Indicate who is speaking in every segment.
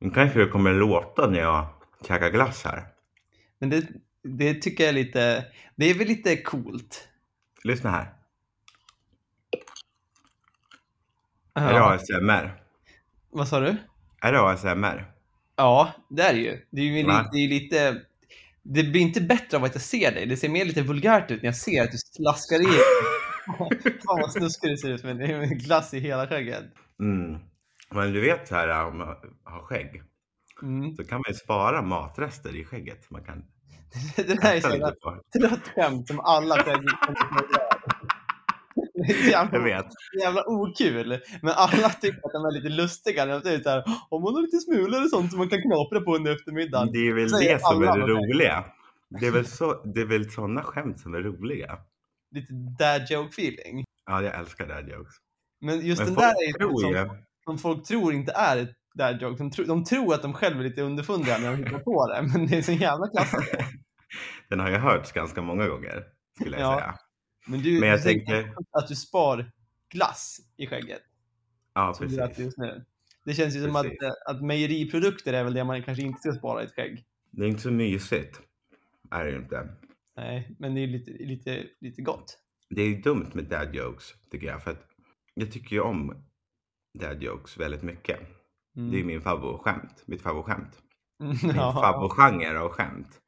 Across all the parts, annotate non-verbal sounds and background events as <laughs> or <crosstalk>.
Speaker 1: Nu kanske det kommer låta när jag käkar glass här.
Speaker 2: Men det, det tycker jag är lite, det är väl lite coolt.
Speaker 1: Lyssna här. Är det ASMR?
Speaker 2: Vad sa du?
Speaker 1: Är det ASMR?
Speaker 2: Ja, det är det ju. Det är ju
Speaker 1: Va?
Speaker 2: li, det är ju lite, det blir inte bättre av att jag ser dig. Det ser mer lite vulgärt ut när jag ser att du
Speaker 1: <laughs>
Speaker 2: slaskar i Fan vad snuskig du ser ut men det är ju glass i hela skägget.
Speaker 1: Mm. Men du vet så här äh, om man har skägg.
Speaker 2: Mm. <laughs>
Speaker 1: Så kan man ju spara matrester i skägget. Man kan
Speaker 2: Det där är så
Speaker 1: kasta
Speaker 2: jävla
Speaker 1: lite på. <laughs>
Speaker 2: trött skämt som alla skägg <laughs> Det är jävla-
Speaker 1: Jag vet.
Speaker 2: jävla okul. Men alla tycker att de är lite lustiga. De säger så här, om man har lite smulor och sånt som man kan knapra på under eftermiddagen.
Speaker 1: Det är väl
Speaker 2: Säger
Speaker 1: det som är
Speaker 2: alla
Speaker 1: det
Speaker 2: vad det är.
Speaker 1: roliga. Det är väl, så, det är väl sådana skämt som är roliga.
Speaker 2: Lite dad joke feeling.
Speaker 1: Ja, jag älskar dad jokes.
Speaker 2: Men just
Speaker 1: Men
Speaker 2: den
Speaker 1: folk
Speaker 2: där är ju
Speaker 1: tror
Speaker 2: som,
Speaker 1: ju.
Speaker 2: som folk tror inte är ett dad joke. De, tro, de tror att de själva är lite underfundiga när de hittar på det. Men det är så jävla
Speaker 1: <laughs>
Speaker 2: klassiskt.
Speaker 1: Den har ju hörts ganska många gånger skulle jag
Speaker 2: Ja.
Speaker 1: säga.
Speaker 2: Men du,
Speaker 1: Men jag
Speaker 2: du säger
Speaker 1: tänker-
Speaker 2: att du spar glass i skägget.
Speaker 1: Ja,
Speaker 2: Som du
Speaker 1: precis.
Speaker 2: äter just nu. Det känns ju som att, eh,
Speaker 1: Precis.
Speaker 2: att mejeriprodukter är väl det man kanske inte ska spara i ett skägg.
Speaker 1: Det är inte så mysigt. Är det ju inte.
Speaker 2: Nej, men det är ju lite, lite, lite gott.
Speaker 1: Det är ju dumt med dad jokes tycker jag. För att jag tycker ju om dad jokes väldigt mycket.
Speaker 2: Mm. <laughs>
Speaker 1: Det är ju min favoritskämt. Mitt favoritskämt.
Speaker 2: Mm,
Speaker 1: Min favoritgenre av skämt.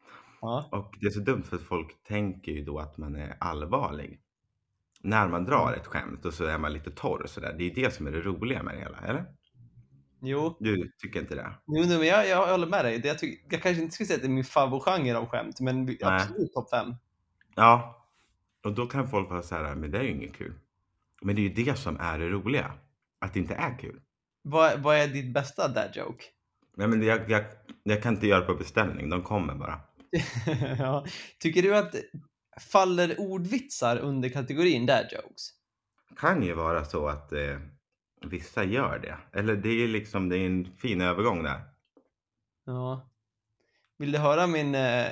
Speaker 2: ja.
Speaker 1: Och det är så dumt för att folk tänker ju då att man är allvarlig. När man drar ett skämt och så är man lite torr sådär. Det är det som är det roliga med det hela, eller?
Speaker 2: Jo,
Speaker 1: Du tycker inte det?
Speaker 2: jo nej, men jag, jag håller med dig. Det, jag, tycker- jag kanske inte skulle säga att det är min favoritgenre av skämt, men vi-
Speaker 1: Nej.
Speaker 2: absolut topp fem.
Speaker 1: Ja. Och då kan folk vara så här, men det är ju inget kul. Men det är ju det som är det roliga. Att det inte är kul.
Speaker 2: Vad, vad är ditt bästa dad joke? <laughs>
Speaker 1: Nej, men jag, jag, jag kan inte göra på beställning, de kommer bara.
Speaker 2: ja. Tycker du att faller ordvitsar under kategorin dad jokes?
Speaker 1: kan ju vara så att eh, vissa gör det. Eller det är liksom, det är en fin övergång där.
Speaker 2: Ja. Vill du höra min, eh,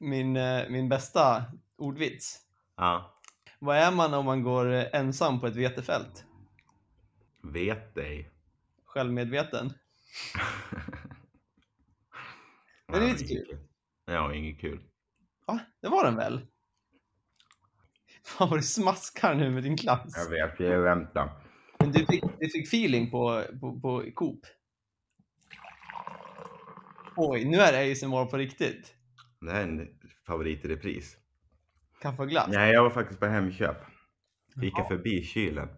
Speaker 2: min, eh, min bästa ordvits?
Speaker 1: Ja.
Speaker 2: Vad är man om man går eh, ensam på ett vetefält?
Speaker 1: Vet dig.
Speaker 2: Självmedveten. Men det är lite kul.
Speaker 1: Ja, inget kul.
Speaker 2: Va? Det var den väl? Fan vad du smaskar nu med din klass.
Speaker 1: Jag vet, jag väntar.
Speaker 2: Men du fick, du fick feeling på, på, på Coop. Oj, nu är det ASMR på riktigt.
Speaker 1: Det här är en favorit i repris.
Speaker 2: Kaffe och glass.
Speaker 1: Nej, jag var faktiskt på Hemköp. Gick jag
Speaker 2: Jaha.
Speaker 1: förbi kylen.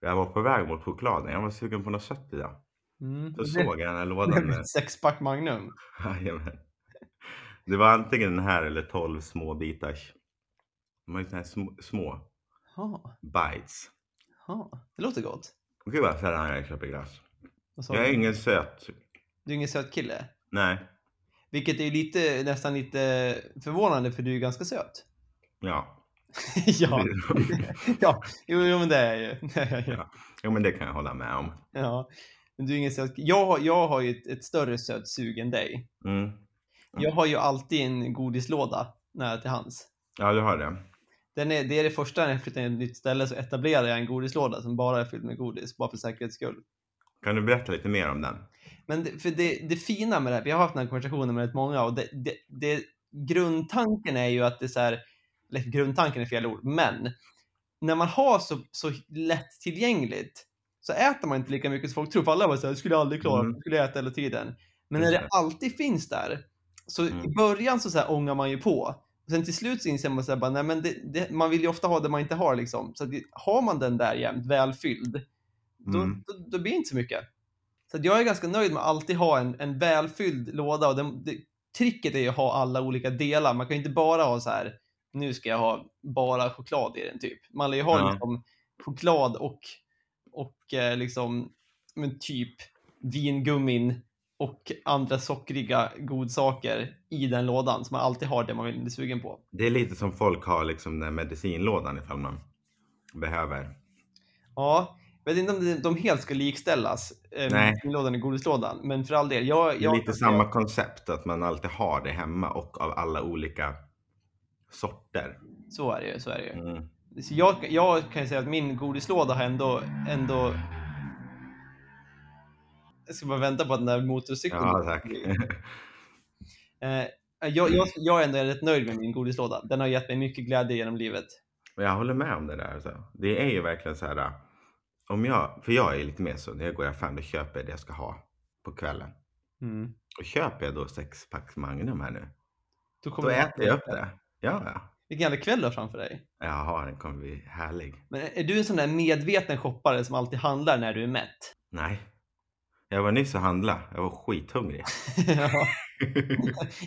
Speaker 1: Jag var på väg mot chokladen. Jag var sugen på något sött idag.
Speaker 2: Mm.
Speaker 1: Så
Speaker 2: Det-
Speaker 1: såg jag den här
Speaker 2: Det
Speaker 1: lådan.
Speaker 2: blev
Speaker 1: Med...
Speaker 2: ett sexpack Magnum.
Speaker 1: <laughs> Jajamän. det var antingen den här eller 12 små bitars. De har ju såna här små, små
Speaker 2: Ja,
Speaker 1: bites.
Speaker 2: ja. Det låter gott.
Speaker 1: Gud vad sällan jag köper glass.
Speaker 2: Vad sa
Speaker 1: Jag är
Speaker 2: du?
Speaker 1: ingen söt.
Speaker 2: Du är ingen söt kille.
Speaker 1: Nej.
Speaker 2: Vilket är lite, nästan lite förvånande för du är ju ganska söt. <laughs>
Speaker 1: Ja.
Speaker 2: ja, ja. Jo, jo, men det är jag ju. <laughs> Det är jag ju.
Speaker 1: <laughs> jo men det kan jag hålla med om.
Speaker 2: Ja. Men du är ingen söt jag, har- jag har ju ett, ett större söt sug än dig.
Speaker 1: Mm.
Speaker 2: Jag har ju alltid en godislåda nära till hands.
Speaker 1: Ja du har det.
Speaker 2: Den är, det är det första när jag flyttar in i ett nytt ställe så etablerar jag en godislåda som bara är fylld med godis, bara för säkerhets skull.
Speaker 1: Kan du berätta lite mer om den?
Speaker 2: Men det, för det, det fina med det här, vi har haft den här konversationen med rätt många och det, det, det, grundtanken är ju att det är så här, eller grundtanken är fel ord, men när man har så, så lättillgängligt så äter man inte lika mycket som folk tror, för alla var så här, "Jag skulle aldrig klara,
Speaker 1: Mm.
Speaker 2: jag skulle äta hela tiden. Men när
Speaker 1: Just
Speaker 2: det
Speaker 1: det.
Speaker 2: alltid finns där, så i
Speaker 1: Mm.
Speaker 2: början så, så här ångar man ju på. Och sen till slut så inser man så här, bara, nej, men det, det, man vill ju ofta ha det man inte har liksom. Så att, det- har man den där jämt välfylld, då,
Speaker 1: Mm.
Speaker 2: då, då blir det inte så mycket. Så att jag är ganska nöjd med att alltid ha en, en välfylld låda. Och den, det, tricket är ju att ha alla olika delar. Man kan ju inte bara ha så här, nu ska jag ha bara choklad i den typ. Man lär ju ha
Speaker 1: Ja.
Speaker 2: liksom choklad och, och eh, liksom, men typ vingummin och andra sockriga godsaker i den lådan. Så man alltid har det man vill bli sugen på.
Speaker 1: Det är lite som folk har liksom den medicinlådan ifall man behöver.
Speaker 2: Ja, jag vet inte om de, de helt ska likställas. Eh,
Speaker 1: Nej.
Speaker 2: Lådan i godislådan. Men för all del. Jag,
Speaker 1: Det är
Speaker 2: jag,
Speaker 1: lite samma koncept att man alltid har det hemma och av alla olika sorter.
Speaker 2: Så är det ju. Så är det ju.
Speaker 1: Mm.
Speaker 2: Så jag, jag kan ju säga att min godislåda har ändå, ändå Jag ska bara vänta på att den där motorcykeln...
Speaker 1: Ja, tack. <laughs>
Speaker 2: Eh, jag, jag, jag är ändå rätt nöjd med min godislåda. Den har gett mig mycket glädje genom livet.
Speaker 1: Men jag håller med om det där. Så. Det är ju verkligen så här. äh, Om jag, för jag är lite mer så, när jag går i affären då köper jag det jag ska ha på kvällen.
Speaker 2: Mm.
Speaker 1: Och köper jag då sexpack Magnum här nu,
Speaker 2: Då
Speaker 1: då
Speaker 2: kommer jag-
Speaker 1: äter jag upp det. Ja, ja.
Speaker 2: Vilken jävla kväll du har framför dig.
Speaker 1: Jaha, den kommer bli härlig.
Speaker 2: Men är du en sån där medveten shoppare som alltid handlar när du är mätt? <laughs>
Speaker 1: Nej. Jag var nyss och handla. Jag var skithungrig. <laughs>
Speaker 2: Ja,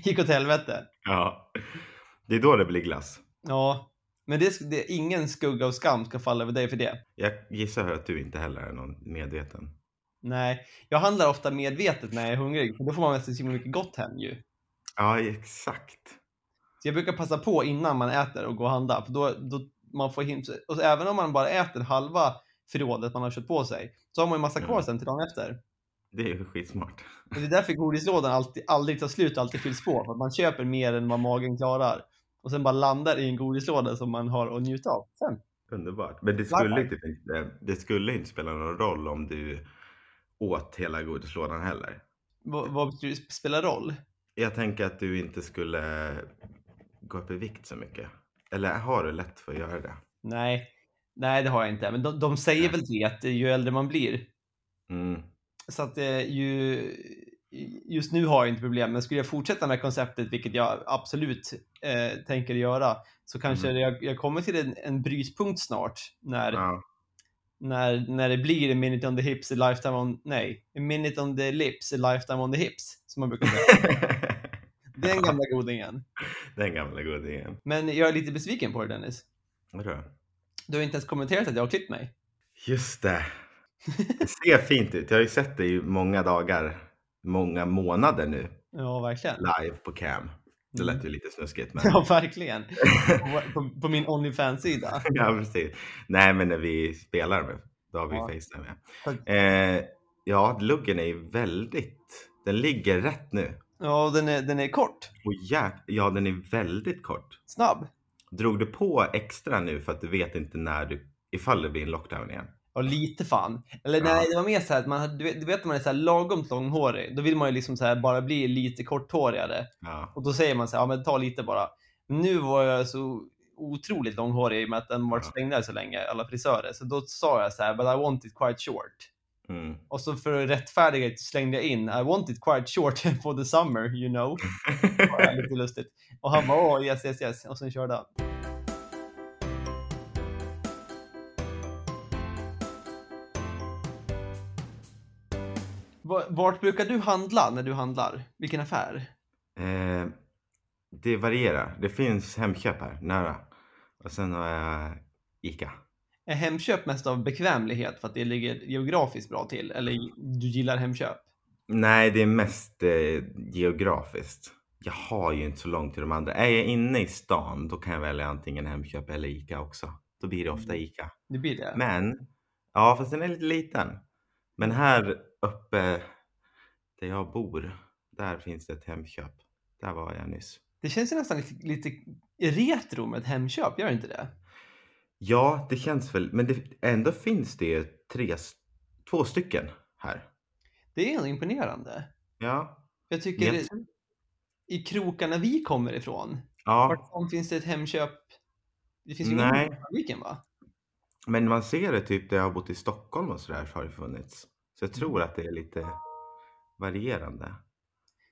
Speaker 2: Gick åt helvete.
Speaker 1: ja. Det är då det blir glass.
Speaker 2: Ja, men det, det, ingen skugga och skam ska falla över dig för det.
Speaker 1: Jag gissar att du inte heller är någon medveten.
Speaker 2: Nej, jag handlar ofta medvetet när jag är hungrig. För då får man med sig så himla mycket gott hem ju.
Speaker 1: Ja, exakt.
Speaker 2: Så jag brukar passa på innan man äter och gå och handla. För då, då man får him- och så även om man bara äter halva förrådet man har köpt på sig, så har man ju massa kvar
Speaker 1: Mm.
Speaker 2: sen till dagen efter.
Speaker 1: Det är ju skitsmart.
Speaker 2: Och det är därför godislådan alltid, aldrig tar slut och alltid fylls på. För att man köper mer än vad magen klarar. Och sen bara landar i en godislåda som man har att njuta av sen.
Speaker 1: Underbart. Men det skulle, typ inte, det skulle inte spela någon roll om du åt hela godislådan heller.
Speaker 2: Vad, vad spelar roll?
Speaker 1: Jag tänker att du inte skulle gå upp i vikt så mycket. Eller har du lätt för att göra det?
Speaker 2: Nej, nej det har jag inte. Men de, de säger väl det, att ju äldre man blir,
Speaker 1: Mm.
Speaker 2: Så att eh, ju, just nu har jag inte problem, men skulle jag fortsätta med konceptet, vilket jag absolut eh, tänker göra, så kanske
Speaker 1: Mm.
Speaker 2: jag, jag kommer till en, en brytpunkt snart när,
Speaker 1: Ja. <laughs>
Speaker 2: när, när det blir en minute on the hips, a lifetime on... Nej, a minute on the lips, a lifetime on the hips, som man brukar säga. Den gamla godingen.
Speaker 1: Den gamla godingen.
Speaker 2: Men jag är lite besviken på dig Dennis.
Speaker 1: Vadå?
Speaker 2: Du har inte ens kommenterat att jag har klippt mig.
Speaker 1: Just det. Det ser fint ut. Jag har ju sett det i många dagar, många månader nu,
Speaker 2: Ja, verkligen.
Speaker 1: live på cam. Det
Speaker 2: Mm.
Speaker 1: lät ju lite snuskigt, men
Speaker 2: <laughs> Ja, verkligen. På, på, på min Onlyfans-sida.
Speaker 1: <laughs> ja, precis. Nej, men när vi spelar med, då har vi
Speaker 2: Ja.
Speaker 1: Facetime med. Eh, ja, luggen är ju väldigt, den ligger rätt nu.
Speaker 2: Ja, den är, den är kort,
Speaker 1: Och jäk... ja, den är väldigt kort.
Speaker 2: snabb.
Speaker 1: Drog du på extra nu för att du vet inte när du, ifall det blir en lockdown igen?
Speaker 2: Ja, lite fan. Eller
Speaker 1: Ja.
Speaker 2: nej, det var mer så här att man, hade- du vet, du vet när man är så här lagom långhårig, då vill man ju liksom så här bara bli lite korthårigare.
Speaker 1: Ja,
Speaker 2: Och då säger man så här, ja men ta lite bara. Men nu var jag så otroligt långhårig i och med att den varit
Speaker 1: Ja.
Speaker 2: stängd där så länge, alla frisörer. Så då sa jag så här, but I want it quite short.
Speaker 1: mm.
Speaker 2: Och så för att rättfärdiga det så slängde jag in, I want it quite short <laughs> for the summer, you know. Det var lite lustigt. Och han bara, oh yes, yes, yes. Och sen körde han. Va- Vart brukar du handla när du handlar? Vilken affär?
Speaker 1: Eh, det varierar. Det finns Hemköp här nära. Och sen har jag Ica.
Speaker 2: Är Hemköp mest av bekvämlighet för att det ligger geografiskt bra till? Eller du gillar Hemköp?
Speaker 1: Nej, det är mest eh, geografiskt. Jag har ju inte så långt till de andra. Är jag inne i stan då kan jag välja antingen Hemköp eller Ica också. Då blir det ofta Ica.
Speaker 2: Det blir det.
Speaker 1: Men, ja fast den är lite liten. Men här uppe där jag bor, där finns det ett Hemköp. Där var jag nyss.
Speaker 2: Det känns ju nästan lite, lite retro med ett Hemköp, gör det inte det?
Speaker 1: Ja, det känns väl. Men det, ändå finns det ju tre, två stycken här.
Speaker 2: Det är ändå imponerande.
Speaker 1: Ja.
Speaker 2: Jag tycker
Speaker 1: Ja.
Speaker 2: det, i krokarna vi kommer ifrån,
Speaker 1: ja.
Speaker 2: vart fan finns det ett Hemköp? Det finns ju
Speaker 1: Nej.
Speaker 2: ingen i Sandviken va?
Speaker 1: Men man ser det typ där jag har bott i Stockholm och sådär har det funnits. Så jag tror att det är lite varierande.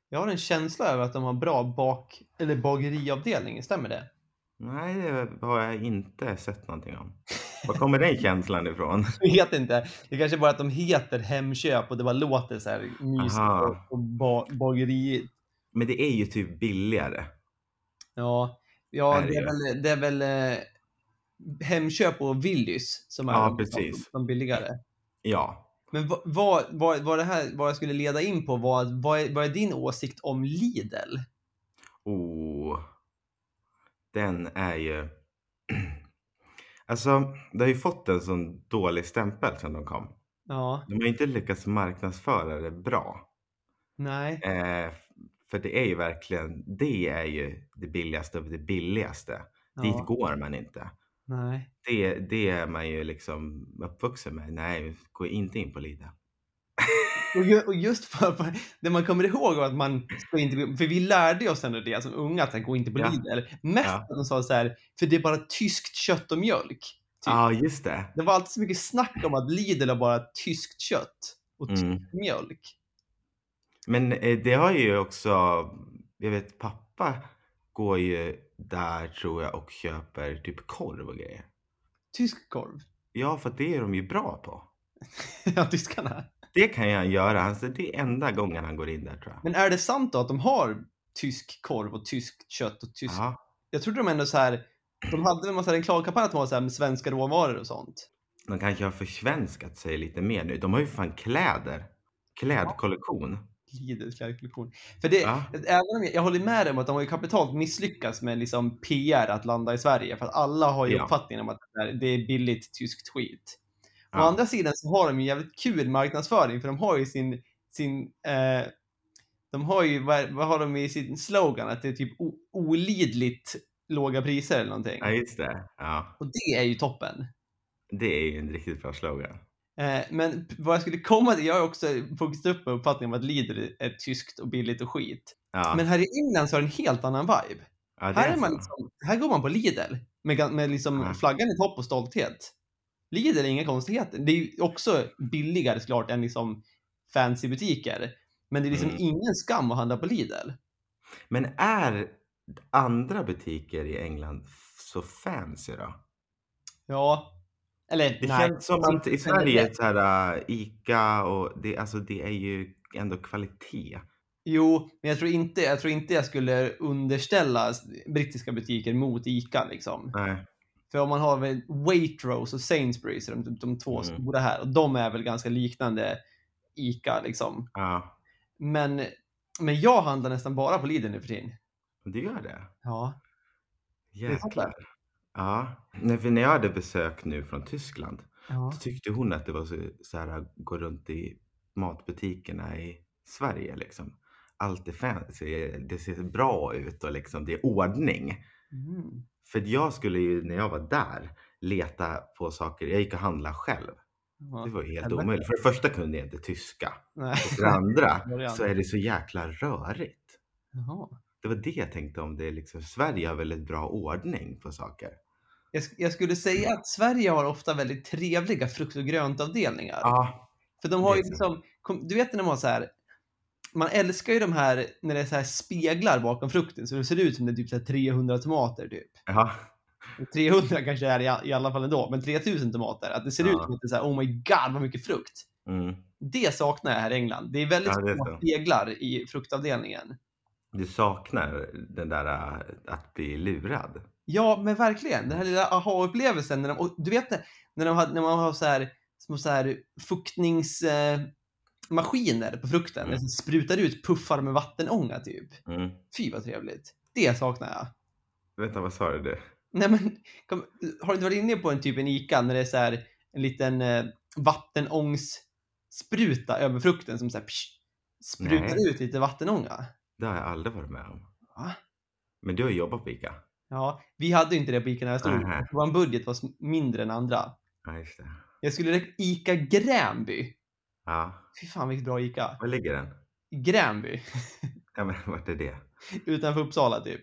Speaker 2: Jag har en känsla över att de har bra bak eller bageriavdelning, stämmer det? <laughs>
Speaker 1: Nej, det har jag inte sett någonting om. Var kommer den känslan ifrån?
Speaker 2: Jag vet inte. Det kanske bara att de heter Hemköp och det bara låter så här mysigt
Speaker 1: Aha.
Speaker 2: och- och ba- bageri.
Speaker 1: Men det är ju typ billigare.
Speaker 2: Ja, ja det, är
Speaker 1: Herregud.
Speaker 2: väl, det är väl eh, Hemköp och Willys som är
Speaker 1: Ja,
Speaker 2: de,
Speaker 1: precis.
Speaker 2: de billigare.
Speaker 1: Ja.
Speaker 2: Men vad, vad, vad, vad, det här, vad jag skulle leda in på var att vad är, vad är din åsikt om Lidl?
Speaker 1: Oh. Den är ju... <clears throat> Alltså, det har ju fått en sån dålig stämpel sedan de kom.
Speaker 2: Ja,
Speaker 1: De har ju inte lyckats marknadsföra det bra.
Speaker 2: nej.
Speaker 1: Eh, för det är ju verkligen, det är ju det billigaste av det billigaste.
Speaker 2: Ja,
Speaker 1: Dit går man inte.
Speaker 2: nej.
Speaker 1: Det, det är man ju liksom uppvuxen med. Nej, gå inte in på Lida.
Speaker 2: Och ju- Och just för, för det man kommer ihåg var att man ska inte, gå- för vi lärde oss ändå det som unga, att så här, gå inte på
Speaker 1: Ja.
Speaker 2: Lidl. Mest
Speaker 1: Ja.
Speaker 2: att de sa så här, för det är bara tyskt kött och mjölk. typ.
Speaker 1: Ja, just det.
Speaker 2: Det var alltid så mycket snack om att Lidl har bara tyskt kött och tysk
Speaker 1: Mm.
Speaker 2: mjölk.
Speaker 1: Men eh, det har ju också, jag vet pappa går ju där tror jag och köper typ korv och grejer.
Speaker 2: Tysk korv. <laughs>
Speaker 1: Ja, för det är de ju bra på.
Speaker 2: ja, tyskarna.
Speaker 1: Det kan han göra. Alltså, det är enda gången han går in där tror jag.
Speaker 2: Men är det sant då att de har tysk korv och tyskt kött och tysk...
Speaker 1: Ja.
Speaker 2: Jag trodde de ändå så här, de hade en massa reklamkampanjer att de var så här med svenska råvaror och sånt.
Speaker 1: De kanske har försvenskat sig lite mer nu. De har ju fan kläder. Klädkollektion.
Speaker 2: Lidls klädkollektion. För det,
Speaker 1: Ja.
Speaker 2: även om jag, jag håller med dig om att de har ju kapitalt misslyckats med liksom PR att landa i Sverige. För att alla har ju
Speaker 1: Ja.
Speaker 2: uppfattningen om att det är- det är billigt tyskt skit. Å
Speaker 1: Ja.
Speaker 2: andra sidan så har de ju jävligt kul marknadsföring för de har ju sin, sin eh, de har ju, vad, vad har de i sin slogan? Att det är typ o, olidligt låga priser eller någonting.
Speaker 1: Ja, just det. Ja.
Speaker 2: Och det är ju toppen.
Speaker 1: Det är ju en riktigt bra slogan.
Speaker 2: Eh, men p- vad jag skulle komma till, jag har också fokuserat upp med uppfattningen om att Lidl är tyskt och billigt och skit.
Speaker 1: Ja,
Speaker 2: Men här i England så har det en helt annan vibe.
Speaker 1: ja det
Speaker 2: Här, är
Speaker 1: så.
Speaker 2: man liksom, här går man på Lidl med, ga- med liksom
Speaker 1: Ja.
Speaker 2: flaggan i topp och stolthet. Lidl är inga konstigheter. Det är ju också billigare såklart än liksom fancy butiker. Men det är liksom
Speaker 1: Mm.
Speaker 2: ingen skam att handla på Lidl.
Speaker 1: Men är andra butiker i England f- så fancy då?
Speaker 2: Ja. Eller
Speaker 1: Det
Speaker 2: nej. alltså,
Speaker 1: känns som att i
Speaker 2: Men-
Speaker 1: Sverige är så här, äh, Ica och det, alltså det är ju ändå kvalitet.
Speaker 2: Jo, men jag tror, inte, jag tror inte jag skulle underställa brittiska butiker mot ICA. Liksom.
Speaker 1: Nej.
Speaker 2: För om man har väl Waitrose och Sainsbury's, de, de två
Speaker 1: Mm.
Speaker 2: stora här, och de är väl ganska liknande ICA. Liksom.
Speaker 1: Ja,
Speaker 2: Men, men jag handlar nästan bara på Lidl nu för tiden.
Speaker 1: du gör det?
Speaker 2: Ja. är sant
Speaker 1: Jäklar. Ja, Nej, för när jag hade besök nu från Tyskland
Speaker 2: ja.
Speaker 1: så tyckte hon att det var så, så här, äh, gå runt i matbutikerna i Sverige liksom. Allt är fancy, det ser bra ut och liksom det är ordning.
Speaker 2: Mm.
Speaker 1: För jag skulle ju när jag var där leta på saker. Jag gick och handlade själv.
Speaker 2: ja.
Speaker 1: Det var ju helt
Speaker 2: helvete.
Speaker 1: omöjligt. För det första kunde jag inte tyska.
Speaker 2: Nej.
Speaker 1: För det andra
Speaker 2: Början.
Speaker 1: så är det så jäkla rörigt.
Speaker 2: Jaha.
Speaker 1: Det var det jag tänkte om det. är Liksom, Sverige har väldigt bra ordning på saker.
Speaker 2: Jag, sk- jag skulle säga att Sverige har ofta väldigt trevliga frukt och gröntavdelningar.
Speaker 1: Ja,
Speaker 2: För de har
Speaker 1: det
Speaker 2: ju
Speaker 1: är så.
Speaker 2: liksom, kom- du vet när de har så här, man älskar ju de här, när det är så här speglar bakom frukten så det ser ut som det är typ så här 300 tomater typ.
Speaker 1: ja,
Speaker 2: 300 kanske är i a- i alla fall ändå, men 3000 tomater. Att det ser ut
Speaker 1: Ja.
Speaker 2: som att det är så här, oh my god vad mycket frukt.
Speaker 1: mm.
Speaker 2: Det saknar jag här i England. Det är väldigt
Speaker 1: Ja, det är
Speaker 2: små
Speaker 1: så.
Speaker 2: speglar i fruktavdelningen.
Speaker 1: Du saknar den där äh, att bli lurad.
Speaker 2: Ja, men verkligen. Den här lilla aha-upplevelsen. När de, och du vet när- när, de har, när man har så här, små så här fuktningsmaskiner eh, maskiner på frukten.
Speaker 1: Mm.
Speaker 2: Som sprutar ut puffar med vattenånga typ.
Speaker 1: Mm.
Speaker 2: Fy vad trevligt. Det saknar jag.
Speaker 1: Vänta, vad sa du? du?
Speaker 2: Nej, men, kom, har du inte varit inne på en typ en ICA när det är så här, en liten eh, vattenångsspruta över frukten som så här, psh, sprutar
Speaker 1: Nej.
Speaker 2: ut lite vattenånga?
Speaker 1: Det har jag aldrig varit med om.
Speaker 2: Va?
Speaker 1: Men du har jobbat på Ica?
Speaker 2: Ja, vi hade ju inte det på ICA när jag stod.
Speaker 1: Nähä.
Speaker 2: Vår budget var sm- mindre än andra.
Speaker 1: Ja, just det.
Speaker 2: Jag skulle rek- ICA Gränby.
Speaker 1: Ja.
Speaker 2: Fy fan vilket bra ICA.
Speaker 1: Var ligger den?
Speaker 2: Gränby.
Speaker 1: Ja, men <laughs> vart är det?
Speaker 2: Utanför Uppsala typ.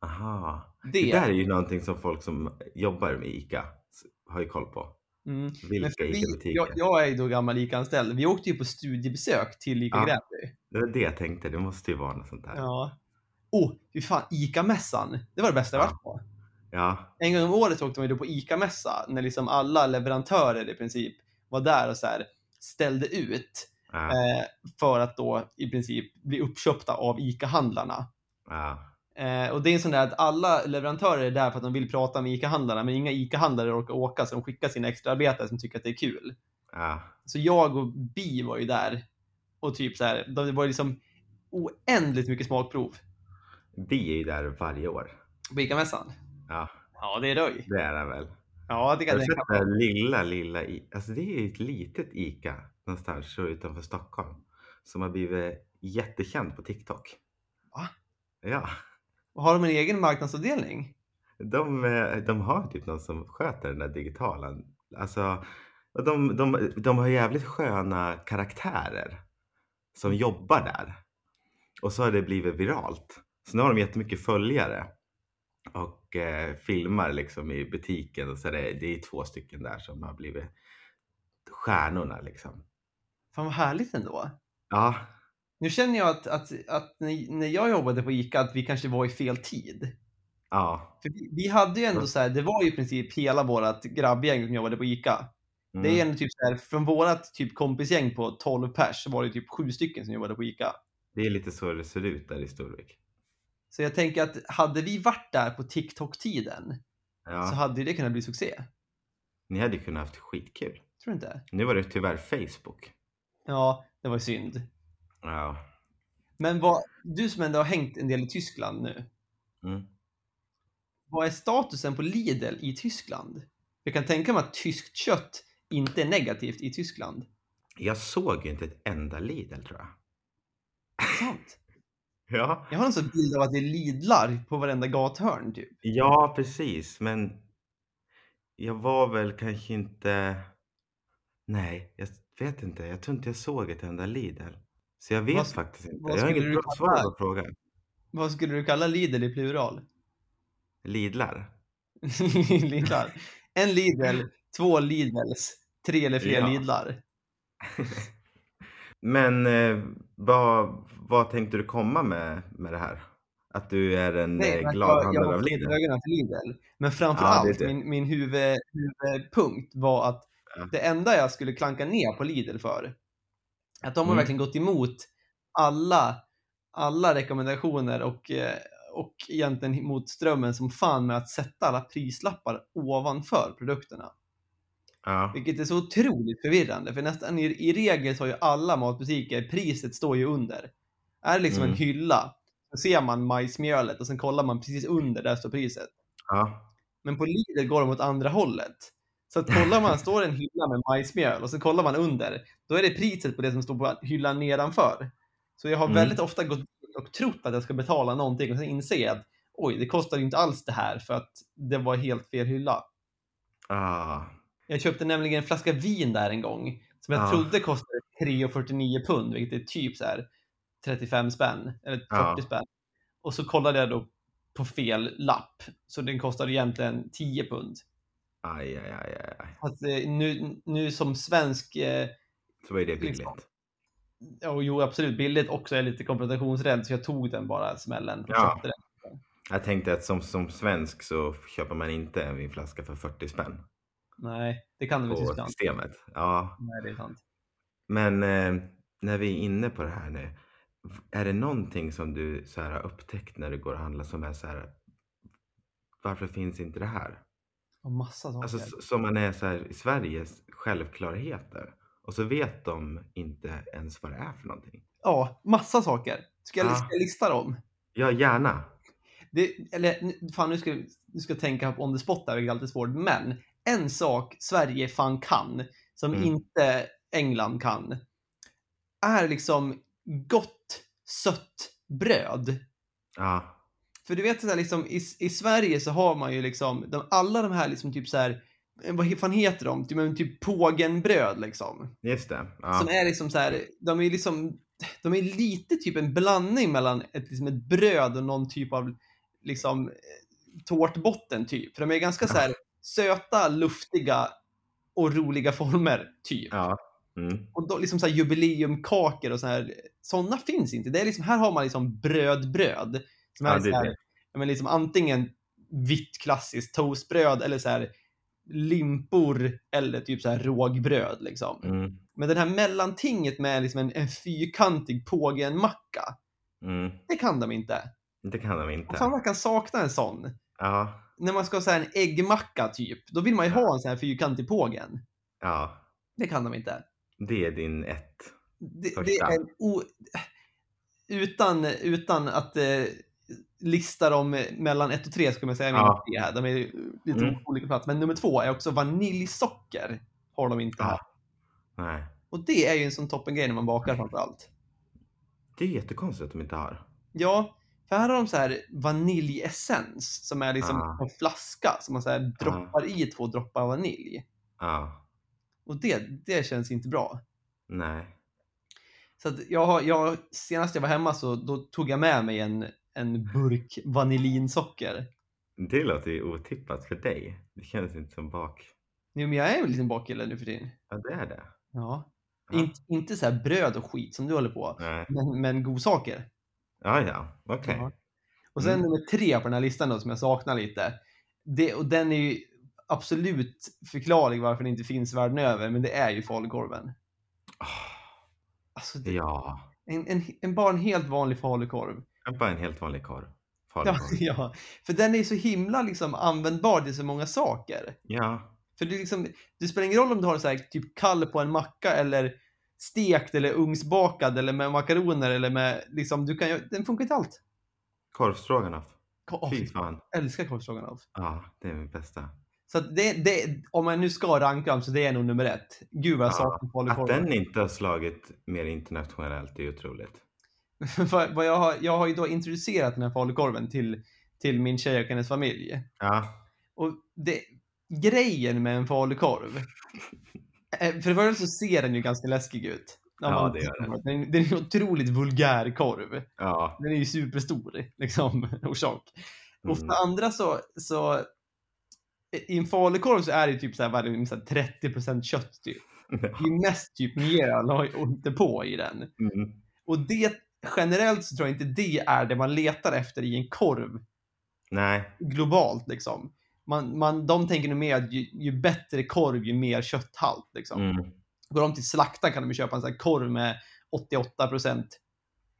Speaker 1: Aha. Det
Speaker 2: Det.
Speaker 1: där är ju någonting som folk som jobbar med ICA s- har ju koll på.
Speaker 2: Mm. Men
Speaker 1: Vilka
Speaker 2: vi,
Speaker 1: ICA-butiker.
Speaker 2: jag, jag är ju då gammal ICA-anställd. Vi åkte ju på studiebesök till ICA
Speaker 1: Ja.
Speaker 2: Gränby.
Speaker 1: Det var det jag tänkte, det måste ju vara något sånt där. Ja.
Speaker 2: Ja. Åh, oh, fy fan. ICA-mässan. Det var det bästa jag
Speaker 1: Ja.
Speaker 2: varit på.
Speaker 1: Ja.
Speaker 2: En gång om året åkte man ju då på ICA-mässa när liksom alla leverantörer i princip var där och så här ställde ut
Speaker 1: ja.
Speaker 2: eh, för att då i princip bli uppköpta av ICA-handlarna. Eh, och det är en sån där att alla leverantörer är där för att de vill prata med ICA-handlarna, men inga ICA-handlare orkar åka så de skickar sina extraarbetare som tycker att det är kul.
Speaker 1: ja.
Speaker 2: Så jag och Bi var ju där och typ så här, det var ju liksom oändligt mycket smakprov
Speaker 1: Vi är ju där varje år.
Speaker 2: på ICA-mässan.
Speaker 1: Ja,
Speaker 2: Ja, det är röj.
Speaker 1: det är det väl.
Speaker 2: Ja, det kan
Speaker 1: Har
Speaker 2: jag
Speaker 1: du sett
Speaker 2: tänka.
Speaker 1: det här lilla, lilla I- Alltså det är ju ett litet ICA någonstans så utanför Stockholm som har blivit jättekänt på TikTok.
Speaker 2: Va?
Speaker 1: Ja,
Speaker 2: Har de en egen marknadsavdelning?
Speaker 1: de, eh, de har typ någon som sköter den där digitala. Alltså, och de, de, de har jävligt sköna karaktärer. som jobbar där. Och så har det blivit viralt. Så nu har de jättemycket följare och eh, filmar liksom i butiken. Och så är det, det är två stycken där som har blivit stjärnorna liksom.
Speaker 2: Fan vad härligt ändå.
Speaker 1: Ja,
Speaker 2: Nu känner jag att, att, att ni- när jag jobbade på ICA att vi kanske var i fel tid.
Speaker 1: ja.
Speaker 2: För vi, vi hade ju ändå
Speaker 1: Mm.
Speaker 2: så här, det var ju i princip hela vårt grabbgäng som jobbade på ICA.
Speaker 1: Mm.
Speaker 2: Det är ändå typ så här, från vårt typ kompisgäng på 12 pers så var det typ sju stycken som jobbade på ICA.
Speaker 1: det är lite så det ser ut där i Storvik.
Speaker 2: Så jag tänker att hade vi varit där på TikTok-tiden
Speaker 1: Ja.
Speaker 2: så hade ju det kunnat bli succé.
Speaker 1: Ni hade ju kunnat haft skitkul.
Speaker 2: Tror du inte?
Speaker 1: Nu var det tyvärr Facebook.
Speaker 2: Ja, det var ju synd.
Speaker 1: Ja.
Speaker 2: Men vad, du som ändå har hängt en del i Tyskland nu.
Speaker 1: Mm.
Speaker 2: Vad är statusen på Lidl i Tyskland? Jag kan tänka mig att tyskt kött inte är negativt i Tyskland.
Speaker 1: Jag såg ju inte ett enda Lidl tror jag.
Speaker 2: Sant.
Speaker 1: Ja,
Speaker 2: Jag har en sån bild av att det är Lidlar på varenda gathörn typ.
Speaker 1: ja precis. Men jag var väl kanske inte... Nej, jag vet inte. Jag tror inte jag såg ett enda Lidl. Så jag vet
Speaker 2: Vad-
Speaker 1: faktiskt inte.
Speaker 2: vad
Speaker 1: Jag har
Speaker 2: skulle
Speaker 1: inget
Speaker 2: du
Speaker 1: bra
Speaker 2: kalla-
Speaker 1: svar på frågan.
Speaker 2: Vad skulle du kalla Lidl i plural? <laughs>
Speaker 1: Lidlar?
Speaker 2: Lidlar. En Lidl, två Lidls, tre eller fler
Speaker 1: Ja.
Speaker 2: Lidlar.
Speaker 1: <laughs> Men eh, vad, vad tänkte du komma med med det här? Att du är en
Speaker 2: Nej,
Speaker 1: eh,
Speaker 2: men
Speaker 1: glad
Speaker 2: jag, jag
Speaker 1: handlare
Speaker 2: har
Speaker 1: av
Speaker 2: fått
Speaker 1: Lidl?
Speaker 2: ögonen för Lidl. Men framför
Speaker 1: Ja, det är
Speaker 2: allt,
Speaker 1: det.
Speaker 2: min, min huvud, huvudpunkt var att
Speaker 1: Ja.
Speaker 2: det enda jag skulle klanka ner på Lidl för, att de har
Speaker 1: Mm.
Speaker 2: verkligen gått emot alla, alla rekommendationer och, eh, och egentligen mot strömmen som fan med att sätta alla prislappar ovanför produkterna.
Speaker 1: Ja.
Speaker 2: Vilket är så otroligt förvirrande, för nästan i, i regel så har ju alla matbutiker, priset står ju under. Är det liksom en
Speaker 1: Mm.
Speaker 2: hylla, så ser man majsmjölet och sen kollar man precis under, där står priset.
Speaker 1: ja.
Speaker 2: Men på Lidl går de åt andra hållet. Så att
Speaker 1: <laughs>
Speaker 2: kollar man, står det en hylla med majsmjöl och sen kollar man under, då är det priset på det som står på hyllan nedanför. Så jag har
Speaker 1: Mm.
Speaker 2: väldigt ofta gått dit och trott att jag ska betala någonting och sen inser jag att oj, det kostar ju inte alls det här för att det var helt fel hylla.
Speaker 1: Ah,
Speaker 2: Jag köpte nämligen en flaska vin där en gång som jag
Speaker 1: Ja.
Speaker 2: trodde kostade 3,49 pund, vilket är typ så här 35 spänn eller 40
Speaker 1: Ja.
Speaker 2: spänn. Och så kollade jag då på fel lapp, så den kostade egentligen 10 pund.
Speaker 1: aj, aj, aj, aj, aj.
Speaker 2: Alltså, nu, nu som svensk, eh,
Speaker 1: Så var ju det billigt.
Speaker 2: Liksom. och jo absolut billigt också, är jag lite konfrontationsrädd så jag tog den bara smällen. Och
Speaker 1: Ja.
Speaker 2: köpte den.
Speaker 1: Jag tänkte att som, som svensk så köper man inte en vinflaska för 40 spänn
Speaker 2: Nej, det kan de i
Speaker 1: på
Speaker 2: Tyskland.
Speaker 1: systemet. Ja,
Speaker 2: Nej, det är sant.
Speaker 1: men eh, när vi är inne på det här nu. v- Är det någonting som du så här, har upptäckt när du går och handlar som är så här. Varför finns inte det här?
Speaker 2: Och massa saker.
Speaker 1: Alltså s- som man är så här i Sveriges självklarheter. Och så vet de inte ens vad det är för någonting.
Speaker 2: Ja, massa saker. Ska jag,
Speaker 1: Ja.
Speaker 2: ska jag lista dem?
Speaker 1: Ja, gärna.
Speaker 2: Det, eller, nu- fan, nu ska, nu ska jag tänka på on the spot där, vilket alltid är svårt. Men en sak Sverige fan kan, som
Speaker 1: Mm.
Speaker 2: inte England kan, är liksom gott, sött bröd.
Speaker 1: Ja,
Speaker 2: För du vet, så här, liksom, i, i Sverige så har man ju liksom de, alla de här, liksom, typ så här, eh, vad fan heter de? Typ, men typ pågenbröd liksom.
Speaker 1: just det.
Speaker 2: Som
Speaker 1: Ja,
Speaker 2: är liksom så här, de är liksom, de är lite typ en blandning mellan ett, liksom ett bröd och någon typ av liksom eh, tårtbotten typ. För de är ganska så här söta, luftiga och roliga former typ.
Speaker 1: ja. Mm.
Speaker 2: Och då, liksom så här jubileumkakor och så här, sådana finns inte. Det är liksom, här har man liksom bröd, bröd. Som
Speaker 1: Ja,
Speaker 2: är
Speaker 1: det
Speaker 2: så
Speaker 1: är
Speaker 2: här,
Speaker 1: det.
Speaker 2: ja, men liksom antingen vitt klassiskt toastbröd eller så här limpor eller typ så här rågbröd liksom.
Speaker 1: Mm.
Speaker 2: Men den här mellantinget med liksom en, en fyrkantig pågenmacka,
Speaker 1: Mm.
Speaker 2: det kan de inte.
Speaker 1: Det kan de
Speaker 2: Och fan
Speaker 1: inte.
Speaker 2: man kan sakna en sån.
Speaker 1: Ja,
Speaker 2: När man ska ha så här en äggmacka typ, då vill man ju
Speaker 1: Ja.
Speaker 2: ha en sån här fyrkantig pågen.
Speaker 1: ja.
Speaker 2: Det kan de inte.
Speaker 1: Det är din ett.
Speaker 2: Det, det
Speaker 1: Första.
Speaker 2: är en o... utan, utan att eh, lista dem mellan ett och tre skulle man säga.
Speaker 1: Ja.
Speaker 2: Ja. Tre här. De är ju lite
Speaker 1: Mm.
Speaker 2: olika plats. Men nummer två är också vaniljsocker. Har de inte
Speaker 1: Ja.
Speaker 2: här.
Speaker 1: Nej.
Speaker 2: Och det är ju en sån toppengrej när man bakar framför allt.
Speaker 1: Det är jättekonstigt att de inte har.
Speaker 2: Ja, för här har de så här vaniljessens som är liksom
Speaker 1: Ah.
Speaker 2: en flaska som man så här droppar i två droppar vanilj.
Speaker 1: Ja.
Speaker 2: Och det, det känns inte bra.
Speaker 1: Nej.
Speaker 2: Så att jag, har- jag, senast jag var hemma så då tog jag med mig en, en burk vaniljinsocker.
Speaker 1: Det låter ju otippat för dig. Det känns inte som bak...
Speaker 2: Jo, men jag är väl en liten bakkille nu för tiden.
Speaker 1: Ja, det är det.
Speaker 2: Ja.
Speaker 1: Ja.
Speaker 2: Inte, inte så här bröd och skit som du håller på,
Speaker 1: Nej.
Speaker 2: men, men godsaker.
Speaker 1: Ja, ja, okej.
Speaker 2: Ja. Och sen
Speaker 1: Mm.
Speaker 2: nummer tre på den här listan då, som jag saknar lite. Det, och den är ju absolut förklarlig varför den inte finns världen över, men det är ju falukorven.
Speaker 1: Ah,
Speaker 2: Alltså, det,
Speaker 1: Ja,
Speaker 2: en, en, en, bara en helt vanlig falukorv.
Speaker 1: bara en helt vanlig korv.
Speaker 2: Ja,
Speaker 1: Falukorv. Ja.
Speaker 2: <laughs> ja, för den är så himla liksom användbar till så många saker.
Speaker 1: ja,
Speaker 2: För det, är liksom, det spelar ingen roll om du har så här, typ kall på en macka eller stekt eller ugnsbakad eller med makaroner eller med liksom, du kan ju, den funkar till allt.
Speaker 1: korvstroganoff.
Speaker 2: Åh,
Speaker 1: Fy fan.
Speaker 2: jag älskar korvstroganoff.
Speaker 1: Ja, det är min bästa.
Speaker 2: Så att det, det, om man nu ska ranka dem så det är nog nummer ett. Gud vad jag
Speaker 1: Ja,
Speaker 2: saknar
Speaker 1: Att
Speaker 2: falukorven.
Speaker 1: den inte har slagit mer internationellt är otroligt.
Speaker 2: <laughs> För vad jag, har, jag har ju då introducerat den här falukorven till, till min tjej och hennes familj.
Speaker 1: Ja,
Speaker 2: Och det, grejen med en falukorv. eh, För det första så ser den ju ganska läskig ut. När
Speaker 1: Ja,
Speaker 2: man
Speaker 1: det gör
Speaker 2: tittar på den. Den, den är en otroligt vulgär korv.
Speaker 1: ja.
Speaker 2: Den är ju superstor, liksom, <laughs> orsak. Och för
Speaker 1: Mm.
Speaker 2: det andra så, så eh, i en falukorv så är det ju typ så här, vad är det, så här 30% kött typ. Det är ju mest typ mjöl och och inte på i den.
Speaker 1: <laughs> Mm.
Speaker 2: Och det generellt så tror jag inte det är det man letar efter i en korv
Speaker 1: Nej,
Speaker 2: globalt liksom. Man, man, de tänker nog mer att ju, ju bättre korv, ju mer kötthalt. Liksom.
Speaker 1: mm.
Speaker 2: Går de till slakta kan de ju köpa en sån här korv med 88%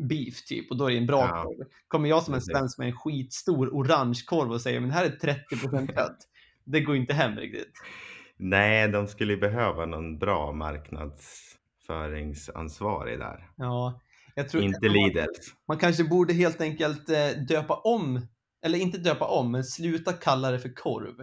Speaker 2: beef typ och då är det en bra
Speaker 1: Ja.
Speaker 2: korv. Kommer jag som en
Speaker 1: Precis.
Speaker 2: svensk med en skitstor orange korv och säger men här är 30% kött. Det går inte hem riktigt.
Speaker 1: Nej, de skulle ju behöva någon bra marknadsföringsansvarig där.
Speaker 2: Ja, jag tror
Speaker 1: Inte Lidls.
Speaker 2: Man kanske borde helt enkelt eh, döpa om, eller inte döpa om, men sluta kalla det för korv.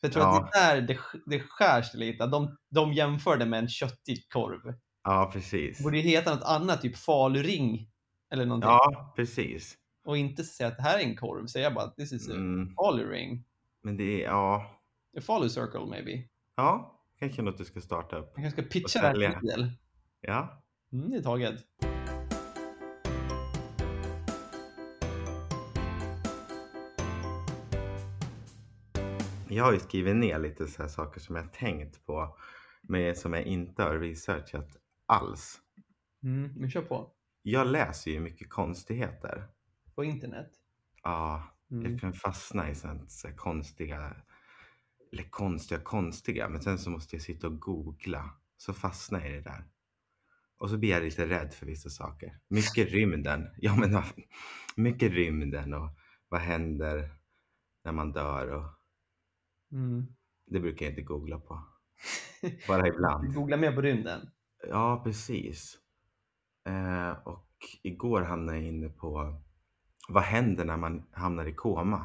Speaker 2: För jag tror
Speaker 1: Ja.
Speaker 2: att det är där det, sk- det skär sig lite. De, de jämför det med en köttig korv.
Speaker 1: Ja, precis.
Speaker 2: Det borde ju heta något annat, typ faluring eller någonting.
Speaker 1: Ja, precis.
Speaker 2: Och inte säga att det här är en korv, säga bara att this is a
Speaker 1: Mm.
Speaker 2: faluring.
Speaker 1: Men det är, ja.
Speaker 2: A falu circle maybe.
Speaker 1: Ja, kanske något du ska starta upp.
Speaker 2: Man kanske ska pitcha det här
Speaker 1: sälja.
Speaker 2: till Lidl.
Speaker 1: Ja,
Speaker 2: Mm, det är taget.
Speaker 1: jag har ju skrivit ner lite så här saker som jag tänkt på, men som jag inte har researchat alls.
Speaker 2: Mm, men kör på.
Speaker 1: Jag läser ju mycket konstigheter.
Speaker 2: På internet.
Speaker 1: Ja,
Speaker 2: Mm.
Speaker 1: jag kan fastna i sånt så här konstiga, eller konstiga, konstiga, men sen så måste jag sitta och googla, så fastnar jag i det där. Och så blir jag lite rädd för vissa saker. Mycket rymden. <laughs> Ja, men vad- mycket rymden och vad händer när man dör och
Speaker 2: Mm.
Speaker 1: det brukar jag inte googla på. Bara ibland.
Speaker 2: <laughs> Googla mer på rymden.
Speaker 1: Ja, precis. Eh, och igår hamnade jag inne på vad händer när man hamnar i koma?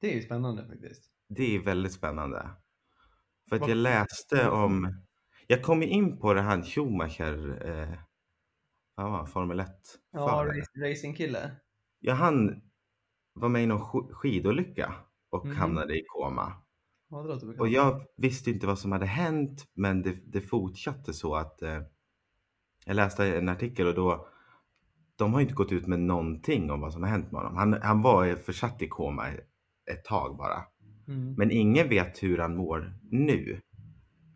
Speaker 2: Det är ju spännande faktiskt.
Speaker 1: Det är väldigt spännande. För att
Speaker 2: Vad- mm.
Speaker 1: jag läste om... Jag kom ju in på det här Schumacher, eh, vad var han, Formel 1
Speaker 2: Ja, rac- racingkille.
Speaker 1: ja, Han var med i någon sk- skidolycka och
Speaker 2: Mhm.
Speaker 1: hamnade i koma.
Speaker 2: Ja, det låter bekant.
Speaker 1: Och jag visste inte vad som hade hänt, men det, det fortsatte så att eh, jag läste en artikel och då de har ju inte gått ut med någonting om vad som har hänt med honom. Han, han var försatt i koma ett tag bara.
Speaker 2: Mm.
Speaker 1: Men ingen vet hur han mår nu.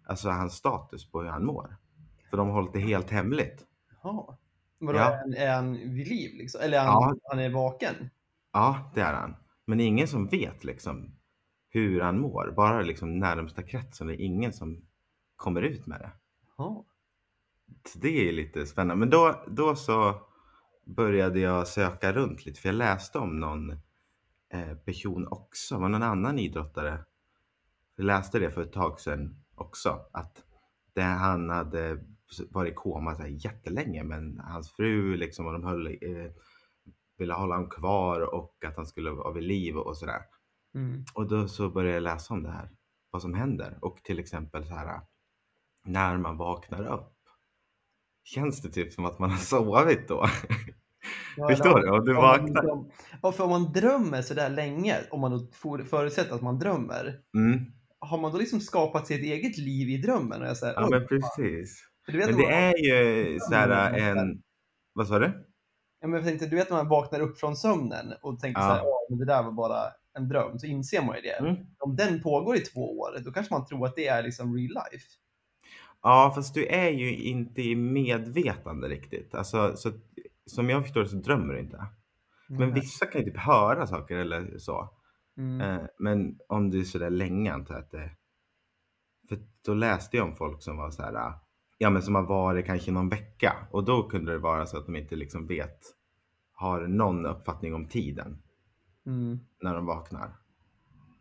Speaker 1: Alltså hans status på hur han mår. För de har hållit det helt hemligt.
Speaker 2: Jaha. Vadå,
Speaker 1: Ja.
Speaker 2: är, han, är han vid liv liksom? Eller är han,
Speaker 1: Ja.
Speaker 2: han är vaken?
Speaker 1: Ja, det är han. Men det är ingen som vet liksom hur han mår. Bara liksom närmsta kretsen. Det är ingen som kommer ut med det.
Speaker 2: Jaha.
Speaker 1: Så det är lite spännande. Men då, då så började jag söka runt lite. För jag läste om någon eh, person också. Det var någon annan idrottare. Jag läste det för ett tag sedan också. Att det, han hade varit i koma så här jättelänge. Men hans fru liksom och de höll, eh, ville hålla honom kvar och att han skulle vara vid liv och sådär.
Speaker 2: Mm.
Speaker 1: Och då så började jag läsa om det här. Vad som händer och till exempel så här när man vaknar upp. Känns det typ som att man har sovit då? <laughs>
Speaker 2: Ja,
Speaker 1: Förstår
Speaker 2: eller
Speaker 1: du? Om du
Speaker 2: om man
Speaker 1: vaknar.
Speaker 2: liksom- Ja, för om man drömmer så där länge, om man då for- förutsätter att man drömmer,
Speaker 1: Mm.
Speaker 2: har man då liksom skapat sitt eget liv i drömmen? Och jag säger,
Speaker 1: Ja
Speaker 2: oj,
Speaker 1: men precis.
Speaker 2: För du vet
Speaker 1: Men
Speaker 2: när
Speaker 1: det
Speaker 2: man-
Speaker 1: är ju så här
Speaker 2: Mm.
Speaker 1: en... Vad sa du?
Speaker 2: Ja, men jag tänkte, du vet när man vaknar upp från sömnen och tänker
Speaker 1: Ja.
Speaker 2: så här, "Åh, men det där var bara en dröm, så inser man ju det.
Speaker 1: Mm.
Speaker 2: Om den pågår i två år, då kanske man tror att det är liksom real life.
Speaker 1: Ja, fast du är ju inte i medvetande riktigt. Alltså, så, att- som jag förstår det så drömmer du inte. Men vissa kan ju typ höra saker eller så.
Speaker 2: Mm.
Speaker 1: Eh, Men om det är sådär länge antar jag att det... För då läste jag om folk som var så här, ah, ja men som har varit kanske någon vecka och då kunde det vara så att de inte liksom vet, har någon uppfattning om tiden
Speaker 2: Mm.
Speaker 1: när de vaknar.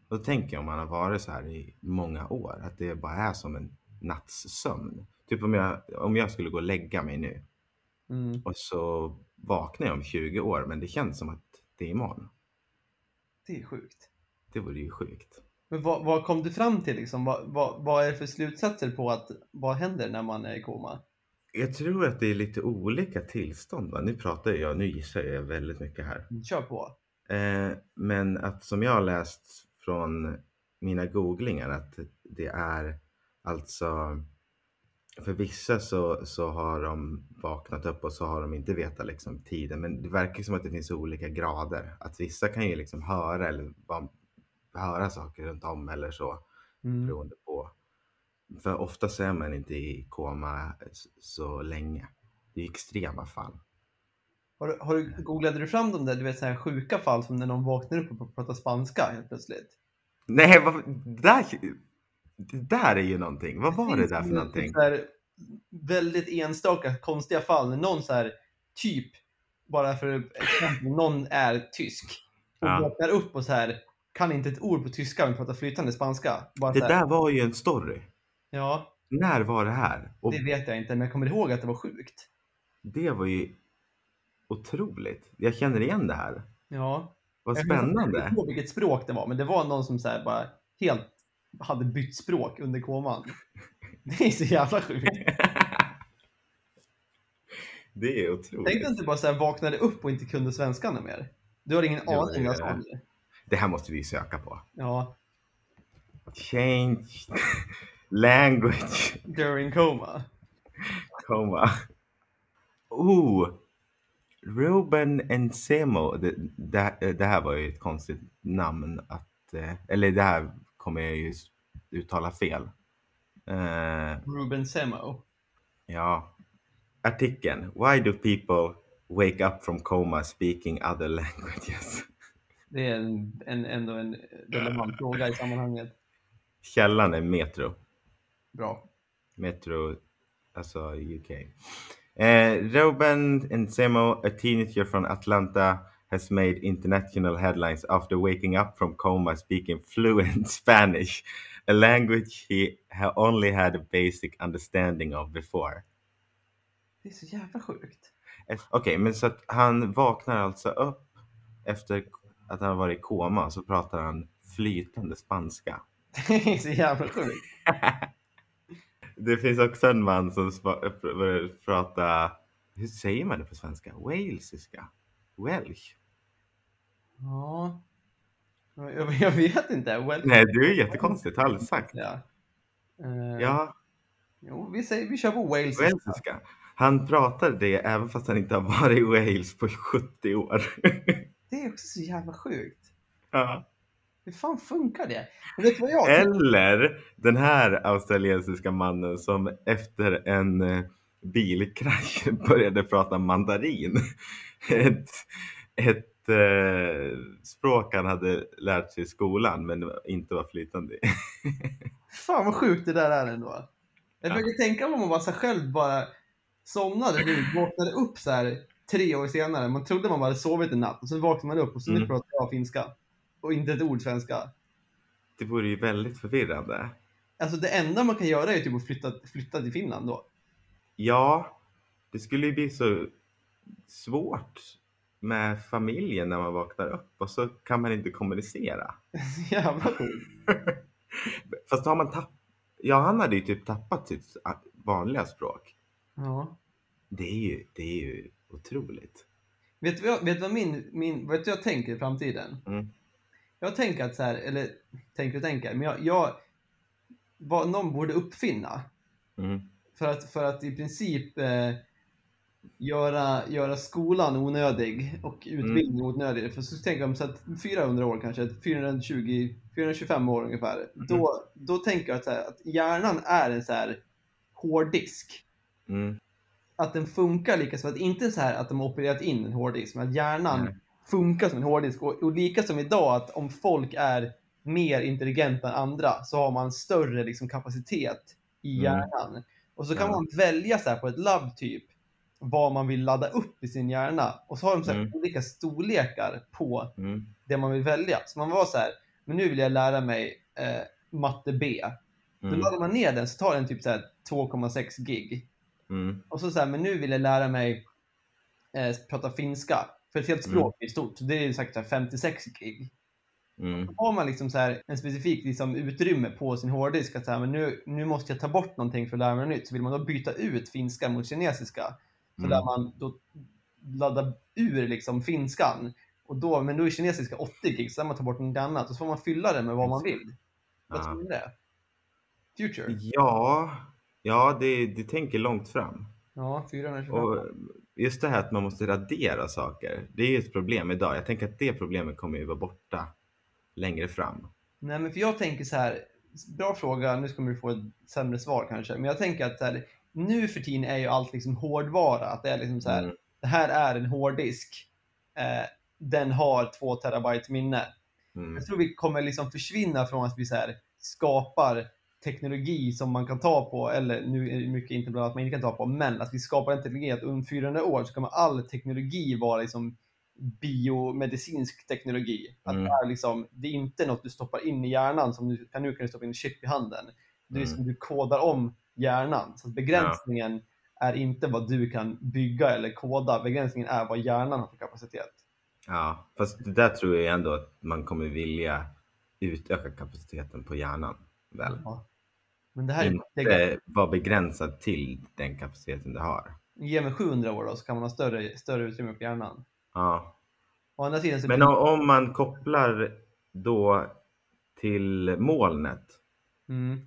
Speaker 1: Då tänker jag om man har varit så här i många år, att det bara är som en nattssömn. Typ om jag, om jag skulle gå och lägga mig nu
Speaker 2: Mm.
Speaker 1: och så vaknar jag om 20 år men det känns som att det är imorgon.
Speaker 2: Det är sjukt.
Speaker 1: Det vore ju sjukt.
Speaker 2: Men vad, vad kom du fram till? Liksom? Vad, vad, vad är det för slutsatser på att, vad händer när man är i koma?
Speaker 1: Jag tror att det är lite olika tillstånd. Va? Nu pratar jag, nu gissar jag väldigt mycket här.
Speaker 2: Kör på.
Speaker 1: Eh, men att som jag har läst från mina googlingar att det är alltså för vissa så, så har de vaknat upp och så har de inte vetat liksom tiden. Men det verkar som att det finns olika grader. Att vissa kan ju liksom höra eller va- höra saker runt om eller så
Speaker 2: Mm.
Speaker 1: beroende på. För ofta så är man inte i koma s- så länge. Det är extrema fall. <laughs>
Speaker 2: Har, du- har du, googlade du fram de där du vet, så här sjuka fall som när någon vaknar upp och pratar spanska helt plötsligt?
Speaker 1: Nej, vad, det, där, det där är ju någonting. Vad var det där för någonting?
Speaker 2: Så här, väldigt enstaka konstiga fall när någon så här, typ, bara för exempel, någon är tysk och
Speaker 1: Ja.
Speaker 2: vaknar upp och så här kan inte ett ord på tyska men pratar flytande spanska. Bara
Speaker 1: Det
Speaker 2: så här,
Speaker 1: där var ju en story.
Speaker 2: ja,
Speaker 1: När var det här? Och
Speaker 2: det vet jag inte men jag kommer ihåg att det var sjukt.
Speaker 1: det var ju otroligt. Jag känner igen det här.
Speaker 2: Ja.
Speaker 1: Vad
Speaker 2: Jag kommer inte
Speaker 1: spännande.
Speaker 2: ihåg vilket språk det var men det var någon som så här bara helt hade bytt språk under koman. Det är så jävla sjukt.
Speaker 1: Det är
Speaker 2: Tänk dig
Speaker 1: otroligt.
Speaker 2: att du bara så här vaknade upp och inte kunde svenskan något mer. Du har ingen
Speaker 1: Ja,
Speaker 2: aning
Speaker 1: det är
Speaker 2: alltså
Speaker 1: det.
Speaker 2: om det.
Speaker 1: Det här måste vi söka på.
Speaker 2: Ja,
Speaker 1: Change <laughs> language.
Speaker 2: during coma.
Speaker 1: Coma. Oh! Ruben Enzemo. Det, det, det här var ju ett konstigt namn. Att, eh, eller det här kommer jag ju uttala fel. Eh,
Speaker 2: Ruben Semo.
Speaker 1: ja. Artikeln. Why do people wake up from coma speaking other languages? <laughs>
Speaker 2: Det är en, en, ändå en relevant fråga i sammanhanget.
Speaker 1: Källan är Metro.
Speaker 2: Bra.
Speaker 1: Metro, alltså UK. Eh, Ruben Enzemo, a teenager from Atlanta, has made international headlines after waking up from coma speaking fluent <laughs> Spanish, a language he ha only had a basic understanding of before.
Speaker 2: Det är så jävla sjukt. <laughs>
Speaker 1: Eh, Okej, men så att han vaknar alltså upp efter att han har varit i koma så pratar han flytande spanska.
Speaker 2: Det är så jävla sjukt.
Speaker 1: Det finns också en man som spa- börjar prata, hur säger man det på svenska? Walesiska? Welsh?
Speaker 2: Ja. Jag, jag vet inte. Well,
Speaker 1: Nej, du är jättekonstigt, har jag aldrig sagt.
Speaker 2: Ja. Eh,
Speaker 1: Ja,
Speaker 2: Jo, vi, säger, vi kör på Wales.
Speaker 1: walesiska. Han pratar det även fast han inte har varit i Wales på 70 år. <laughs>
Speaker 2: Det är också så jävla sjukt.
Speaker 1: Ja.
Speaker 2: Hur fan funkar det? Men vet du vad jag
Speaker 1: Eller den här australiensiska mannen som efter en eh, bilkrasch <laughs> började prata mandarin. <laughs> Ett, ett eh, språk han hade lärt sig i skolan men inte var flytande <laughs> i.
Speaker 2: Fan vad sjukt det där är ändå. Jag
Speaker 1: Ja.
Speaker 2: försöker tänka mig om man bara så här själv bara somnade nu, vaknade upp så här tre år senare. Man trodde man bara hade sovit en natt och sen vaknade man upp och så nu
Speaker 1: Mm.
Speaker 2: pratar jag finska. Och inte ett ord svenska.
Speaker 1: Det vore ju väldigt förvirrande.
Speaker 2: Alltså det enda man kan göra är typ att flytta, flytta till Finland då. <laughs>
Speaker 1: Ja, det skulle ju bli så svårt med familjen när man vaknar upp och så kan man inte kommunicera.
Speaker 2: Så Jävla sjukt.
Speaker 1: Fast har man tappat... Ja, han hade ju typ tappat sitt a- vanliga språk.
Speaker 2: Ja.
Speaker 1: Det är ju, det är ju otroligt.
Speaker 2: Vet du vad, jag- vet du vad min, min, vet du vad jag tänker i framtiden?
Speaker 1: Mm.
Speaker 2: Jag tänker att så här, eller tänker och tänker, men jag, jag vad någon borde uppfinna
Speaker 1: Mm.
Speaker 2: För att, för att i princip eh, göra, göra skolan onödig och utbildning onödig. För så tänker jag om så att 400 år kanske, 420, 425 år ungefär. Då, då tänker jag att, så här, att hjärnan är en så här hårddisk.
Speaker 1: Mm.
Speaker 2: Att den funkar lika så att inte så här att de har opererat in en hårddisk, men att hjärnan
Speaker 1: Nej.
Speaker 2: funkar som en hårddisk. Och, och lika som idag, att om folk är mer intelligenta än andra så har man större liksom, kapacitet i
Speaker 1: Mm.
Speaker 2: hjärnan. Och så kan
Speaker 1: Ja.
Speaker 2: man välja så här, på ett labb typ vad man vill ladda upp i sin hjärna. Och så har de så här,
Speaker 1: Mm.
Speaker 2: olika storlekar på
Speaker 1: Mm.
Speaker 2: det man vill välja. Så man var så här, men nu vill jag lära mig eh, matte B. Då
Speaker 1: Mm.
Speaker 2: laddar man ner den så tar den typ så här 2,6 gig.
Speaker 1: Mm.
Speaker 2: Och så så här, men nu vill jag lära mig eh, prata finska. För ett helt språk är stort, så det är ju säkert så här 56 gig.
Speaker 1: Mm.
Speaker 2: Har man liksom så här en specifik liksom utrymme på sin hårddisk att så här, men nu, nu måste jag ta bort någonting för att lära mig något nytt, så vill man då byta ut finska mot kinesiska. Så
Speaker 1: Mm.
Speaker 2: där man då laddar ur liksom finskan. Och då, men då är kinesiska 80 gig, så där man tar bort något annat. Och så får man fylla det med vad man vill. Vad
Speaker 1: Ja.
Speaker 2: tror du om det? Future?
Speaker 1: Ja, ja det, det tänker långt fram.
Speaker 2: Ja, 425.
Speaker 1: Och just det här att man måste radera saker, det är ju ett problem idag. Jag tänker att det problemet kommer ju vara borta längre fram.
Speaker 2: Nej, men för jag tänker så här. Bra fråga, nu kommer du få ett sämre svar kanske. Men jag tänker att så här, nu för tiden är ju allt liksom hårdvara. Att det är liksom så här,
Speaker 1: Mm.
Speaker 2: det här är en hårddisk. Eh, den har 2 terabyte minne.
Speaker 1: Mm.
Speaker 2: Jag tror vi kommer liksom försvinna från att vi så här skapar teknologi som man kan ta på, eller nu är det mycket inte bland annat man inte kan ta på, men att vi skapar en teknologi att om 400 år så kommer all teknologi vara liksom biomedicinsk teknologi. Att
Speaker 1: Mm.
Speaker 2: det, är liksom, det är inte något du stoppar in i hjärnan som du kan nu kan du stoppa in ett chip i handen. Det är
Speaker 1: Mm.
Speaker 2: liksom du kodar om hjärnan. Så att begränsningen är inte vad du kan bygga eller koda. Begränsningen är vad hjärnan har för kapacitet.
Speaker 1: Ja, fast det där tror jag ändå att man kommer vilja utöka kapaciteten på hjärnan. Väl?
Speaker 2: Ja. Men det här är
Speaker 1: Inte vara begränsad till den kapaciteten du har.
Speaker 2: Ge mig 700 år då så kan man ha större, större utrymme på hjärnan.
Speaker 1: Ja.
Speaker 2: Å andra sidan så
Speaker 1: Men o- om man kopplar då till molnet
Speaker 2: mm,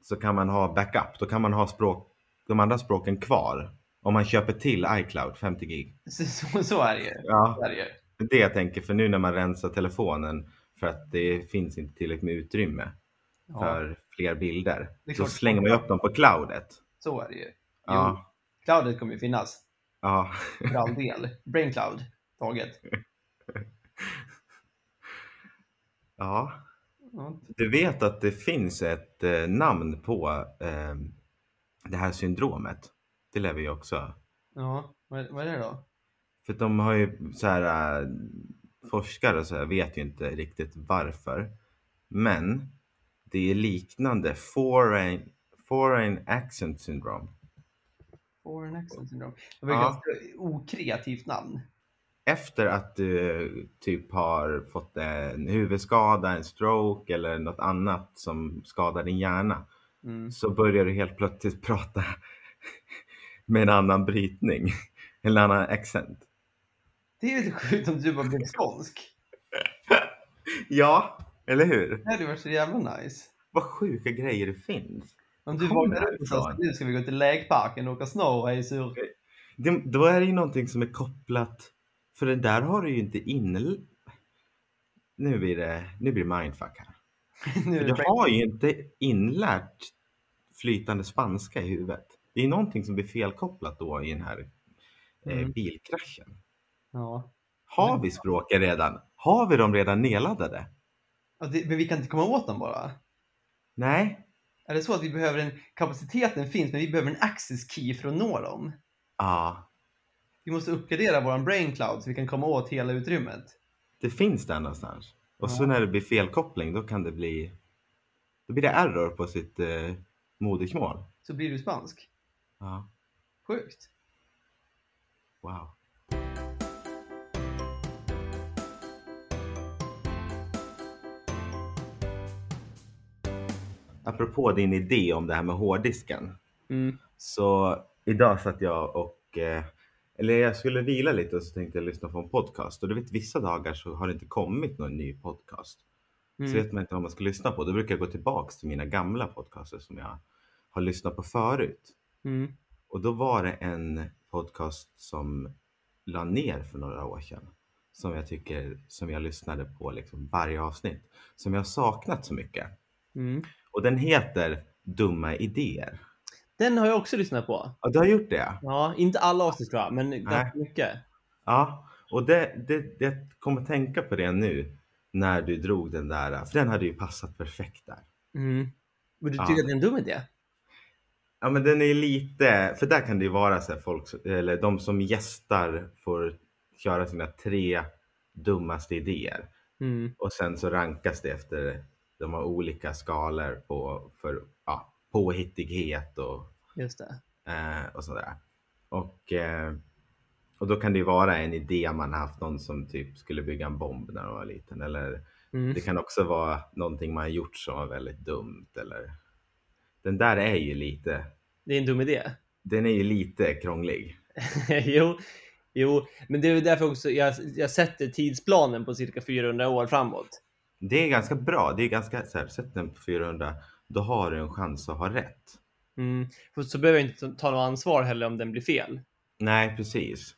Speaker 2: <laughs>
Speaker 1: så kan man ha backup. Då kan man ha språk, de andra språken kvar. Om man köper till iCloud 50 gig.
Speaker 2: så, så, så är det ju. Så
Speaker 1: Ja,
Speaker 2: är det ju.
Speaker 1: det är det jag tänker. För nu när man rensar telefonen för att det finns inte tillräckligt med utrymme
Speaker 2: Ja,
Speaker 1: för fler bilder.
Speaker 2: Det är
Speaker 1: Då
Speaker 2: klart.
Speaker 1: slänger man ju upp dem på cloudet.
Speaker 2: så är det ju. Jo,
Speaker 1: Ja.
Speaker 2: Cloudet kommer ju finnas
Speaker 1: Ja. <laughs>
Speaker 2: för all del. Brain cloud taget.
Speaker 1: ja.
Speaker 2: Ja,
Speaker 1: Du vet att det finns ett eh, namn på eh, det här syndromet. Det lär vi ju också.
Speaker 2: ja. Vad, vad är det då?
Speaker 1: För de har ju så här eh, forskare och så här vet ju inte riktigt varför. Men det är liknande foreign, foreign accent syndrome.
Speaker 2: Foreign accent syndrome. Det var ett
Speaker 1: Ja.
Speaker 2: ganska okreativt namn.
Speaker 1: Efter att du typ har fått en huvudskada, en stroke eller något annat som skadar din hjärna.
Speaker 2: Mm.
Speaker 1: så börjar du helt plötsligt prata <laughs> med en annan brytning, en annan accent.
Speaker 2: Det är ju lite sjukt om du bara blev skånsk.
Speaker 1: Ja, eller hur?
Speaker 2: Det hade varit så jävla nice.
Speaker 1: Vad sjuka grejer det finns.
Speaker 2: Om du
Speaker 1: Kommer
Speaker 2: vaknar upp och sa
Speaker 1: härifrån.
Speaker 2: att nu ska vi gå till lägparken och åka snowrace ur
Speaker 1: Det, då är det ju någonting som är kopplat, för det där har du ju inte in... Nu blir det, nu blir det mindfuck här.
Speaker 2: nu.
Speaker 1: För du har ju inte inlärt flytande spanska i huvudet. Det är någonting som blir felkopplat då i den här eh,
Speaker 2: Mm.
Speaker 1: bilkraschen.
Speaker 2: Ja.
Speaker 1: Har vi språken redan? Har vi dem redan nedladdade?
Speaker 2: Ja, Alltså, det- Men vi kan inte komma åt dem bara.
Speaker 1: Nej,
Speaker 2: Är det så att vi behöver en, kapaciteten finns, men vi behöver en access key för att nå dem?
Speaker 1: Ja,
Speaker 2: Vi måste uppgradera vår brain cloud så vi kan komma åt hela utrymmet.
Speaker 1: det finns där någonstans. Och så
Speaker 2: Ja.
Speaker 1: när det blir felkoppling då kan det bli då blir det error på sitt eh, modersmål.
Speaker 2: Så blir du spansk.
Speaker 1: Ja,
Speaker 2: Sjukt.
Speaker 1: wow. Apropå din idé om det här med hårddisken. Mm. Så idag satt jag och, eh, eller jag skulle vila lite och så tänkte jag lyssna på en podcast. Och du vet vissa dagar så har det inte kommit någon ny podcast.
Speaker 2: Mm.
Speaker 1: Så vet man inte vad man ska lyssna på. Då brukar jag gå tillbaks till mina gamla podcaster som jag har lyssnat på förut.
Speaker 2: Mm.
Speaker 1: Och då var det en podcast som la ner för några år sedan som jag tycker som jag lyssnade på liksom varje avsnitt som jag har saknat så mycket.
Speaker 2: Mm.
Speaker 1: Och den heter Dumma idéer.
Speaker 2: Den har jag också lyssnat på.
Speaker 1: Ja, du har gjort det?
Speaker 2: Ja, inte alla avsnitt tror jag, men ganska mycket.
Speaker 1: Ja, och det, det, det, jag kommer tänka på det nu när du drog den där, för den hade ju passat perfekt där.
Speaker 2: Mm. Men du
Speaker 1: Ja.
Speaker 2: tycker att det är en dum idé?
Speaker 1: Ja, men den är lite, för där kan det ju vara så här folk, eller de som gästar får köra sina tre dummaste idéer
Speaker 2: Mm.
Speaker 1: och sen så rankas det efter, de har olika skalor på, för ja, påhittighet och
Speaker 2: Just det.
Speaker 1: eh, och sådär. Och, eh, och då kan det ju vara en idé man har haft, någon som typ skulle bygga en bomb när de var liten. Eller
Speaker 2: Mm.
Speaker 1: det kan också vara någonting man har gjort som var väldigt dumt. Eller... Den där är ju lite,
Speaker 2: Det är en dum idé. <laughs>
Speaker 1: den är ju lite krånglig.
Speaker 2: jo, jo, men det är väl därför också jag, jag sätter tidsplanen på cirka 400 år framåt.
Speaker 1: Det är ganska bra. Det är ganska så här, sätt den på 400, då har du en chans att ha rätt.
Speaker 2: Mm. För Så behöver jag inte ta något ansvar heller om den blir fel.
Speaker 1: Nej, precis.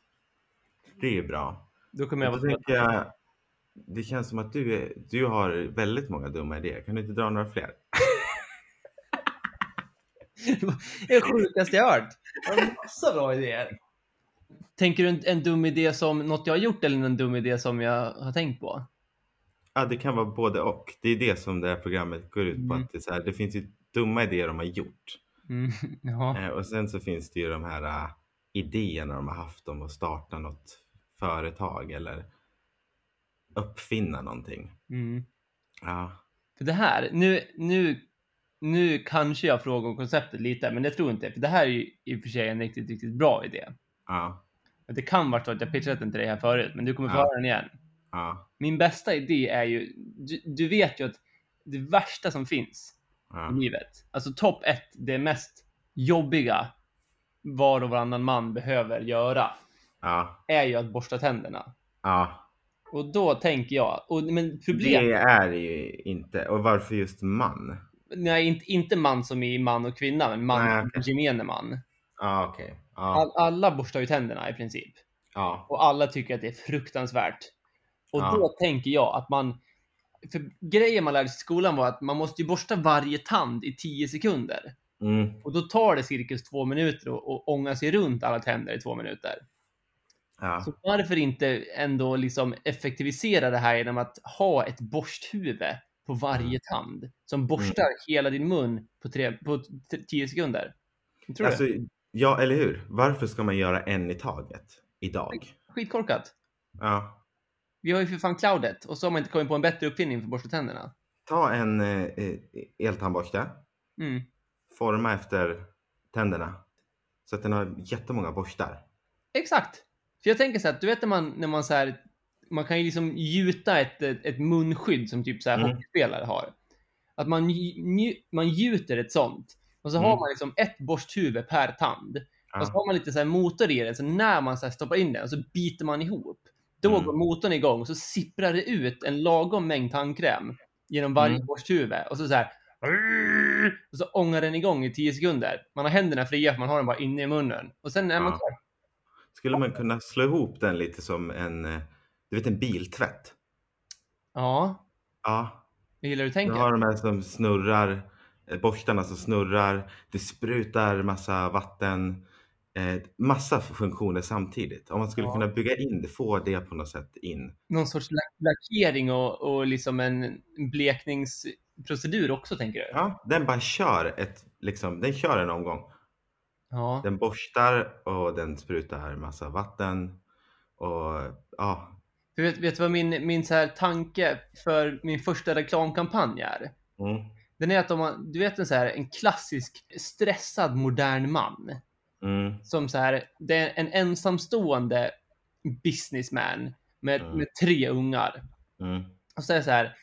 Speaker 1: Det är ju bra.
Speaker 2: Då kommer jag
Speaker 1: Men då
Speaker 2: vara
Speaker 1: tänker jag, det känns som att du, är, du har väldigt många dumma idéer. Kan du inte dra några fler?
Speaker 2: <laughs> det är det sjukaste jag hört. Jag har en massa bra idéer. Tänker du en, en dum idé som något jag har gjort eller en dum idé som jag har tänkt på?
Speaker 1: Ja, det kan vara både och. Det är det som det här programmet går ut på.
Speaker 2: Mm.
Speaker 1: Att det, är så här, det finns ju dumma idéer de har gjort.
Speaker 2: Mm. <laughs> Ja.
Speaker 1: Eh, och sen så finns det ju de här eh, idéerna de har haft om att starta något företag eller uppfinna någonting.
Speaker 2: Mm.
Speaker 1: Ja,
Speaker 2: För det här, nu, nu, nu kanske jag frågar om konceptet lite, men jag tror inte. För det här är ju i och för sig en riktigt, riktigt bra idé.
Speaker 1: ja,
Speaker 2: Det kan vara så att jag pitchat den till dig här förut, men du kommer få
Speaker 1: Ja.
Speaker 2: höra den igen.
Speaker 1: ja,
Speaker 2: Min bästa idé är ju, du, du vet ju att det värsta som finns
Speaker 1: ja,
Speaker 2: i livet, alltså topp ett, det mest jobbiga var och varannan man behöver göra,
Speaker 1: ja,
Speaker 2: är ju att borsta tänderna.
Speaker 1: ja.
Speaker 2: Och då tänker jag, och, men problem,
Speaker 1: Det är det ju inte. Och varför just man?
Speaker 2: nej inte, inte man som i man och kvinna, men man
Speaker 1: Nej,
Speaker 2: som är gemene man.
Speaker 1: Ja, okej. Ja,
Speaker 2: All, alla borstar ju tänderna i princip.
Speaker 1: ja,
Speaker 2: och alla tycker att det är fruktansvärt. Och
Speaker 1: Ja.
Speaker 2: då tänker jag att man... För grejen man lärde sig i skolan var att man måste ju borsta varje tand i 10 sekunder.
Speaker 1: mm,
Speaker 2: Och då tar det cirkus två minuter och, och ånga sig runt alla tänder i två minuter.
Speaker 1: ja,
Speaker 2: Så varför inte ändå liksom effektivisera det här genom att ha ett borsthuvud på varje
Speaker 1: Mm.
Speaker 2: tand som borstar hela din mun på, tre, på t- 10 sekunder? Tror du?
Speaker 1: alltså, ja, eller hur? Varför ska man göra en i taget idag?
Speaker 2: Skitkorkat.
Speaker 1: Ja.
Speaker 2: Vi har ju för fan cloudet och så har man inte kommit på en bättre uppfinning för att borsta tänderna.
Speaker 1: Ta en eh, eh, eltandborste,
Speaker 2: Mm.
Speaker 1: forma efter tänderna så att den har jättemånga borstar.
Speaker 2: Exakt. För jag tänker så här, att du vet när man, när man så här, man kan ju liksom gjuta ett, ett, ett munskydd som typ så här
Speaker 1: Mm.
Speaker 2: hockeyspelare har. Att man, gj- nj, man gjuter ett sånt och så har
Speaker 1: Mm.
Speaker 2: man liksom ett borsthuvud per tand. Och så
Speaker 1: Ja,
Speaker 2: har man lite så här motor i den, så när man så här stoppar in den så biter man ihop. Då
Speaker 1: Mm.
Speaker 2: går motorn igång och så sipprar det ut en lagom mängd tandkräm genom varje
Speaker 1: Mm.
Speaker 2: borsthuvud. Och så så här och så ångar den igång i 10 sekunder. Man har händerna fria för man har den bara inne i munnen. Och sen är man
Speaker 1: Ja.
Speaker 2: klar.
Speaker 1: skulle man kunna slå ihop den lite som en, eh, du vet en biltvätt?
Speaker 2: Ja,
Speaker 1: Ja,
Speaker 2: Jag gillar hur du
Speaker 1: du
Speaker 2: tänker.
Speaker 1: har de här som snurrar, eh, borstarna som snurrar, det sprutar massa vatten, eh, massa funktioner samtidigt. Om man skulle
Speaker 2: Ja.
Speaker 1: kunna bygga in det, få det på något sätt in.
Speaker 2: Någon sorts lack- lackering och, och liksom en blekningsprocedur också, tänker du?
Speaker 1: Ja, den bara kör ett, liksom, den kör en omgång.
Speaker 2: Ja.
Speaker 1: Den borstar och den sprutar massa vatten. Och ja,
Speaker 2: Du vet, vet du vad min, min så här tanke för min första reklamkampanj är?
Speaker 1: mm,
Speaker 2: Den är att om man, du vet en så här, en klassisk stressad modern man.
Speaker 1: mm,
Speaker 2: Som så här, det är en ensamstående businessman med,
Speaker 1: Mm.
Speaker 2: med tre ungar.
Speaker 1: mm,
Speaker 2: Och så är det så här,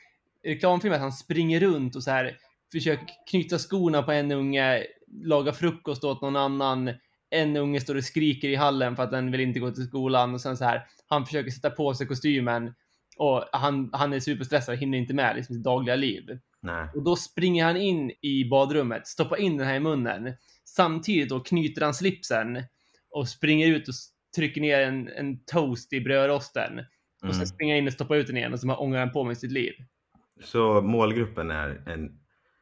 Speaker 2: i reklamfilmen att han springer runt och så här, försöker knyta skorna på en unge, laga frukost åt någon annan. En unge står och skriker i hallen för att den vill inte gå till skolan och sen så här, han försöker sätta på sig kostymen och han, han är superstressad och hinner inte med liksom, sitt dagliga liv.
Speaker 1: nej, mm.
Speaker 2: Och då springer han in i badrummet, stoppar in den här i munnen, samtidigt då knyter han slipsen och springer ut och s- trycker ner en, en toast i brödrosten. Och
Speaker 1: Mm.
Speaker 2: sen springer han in och stoppar ut den igen och så bara ångar han på med sitt liv.
Speaker 1: Så målgruppen är en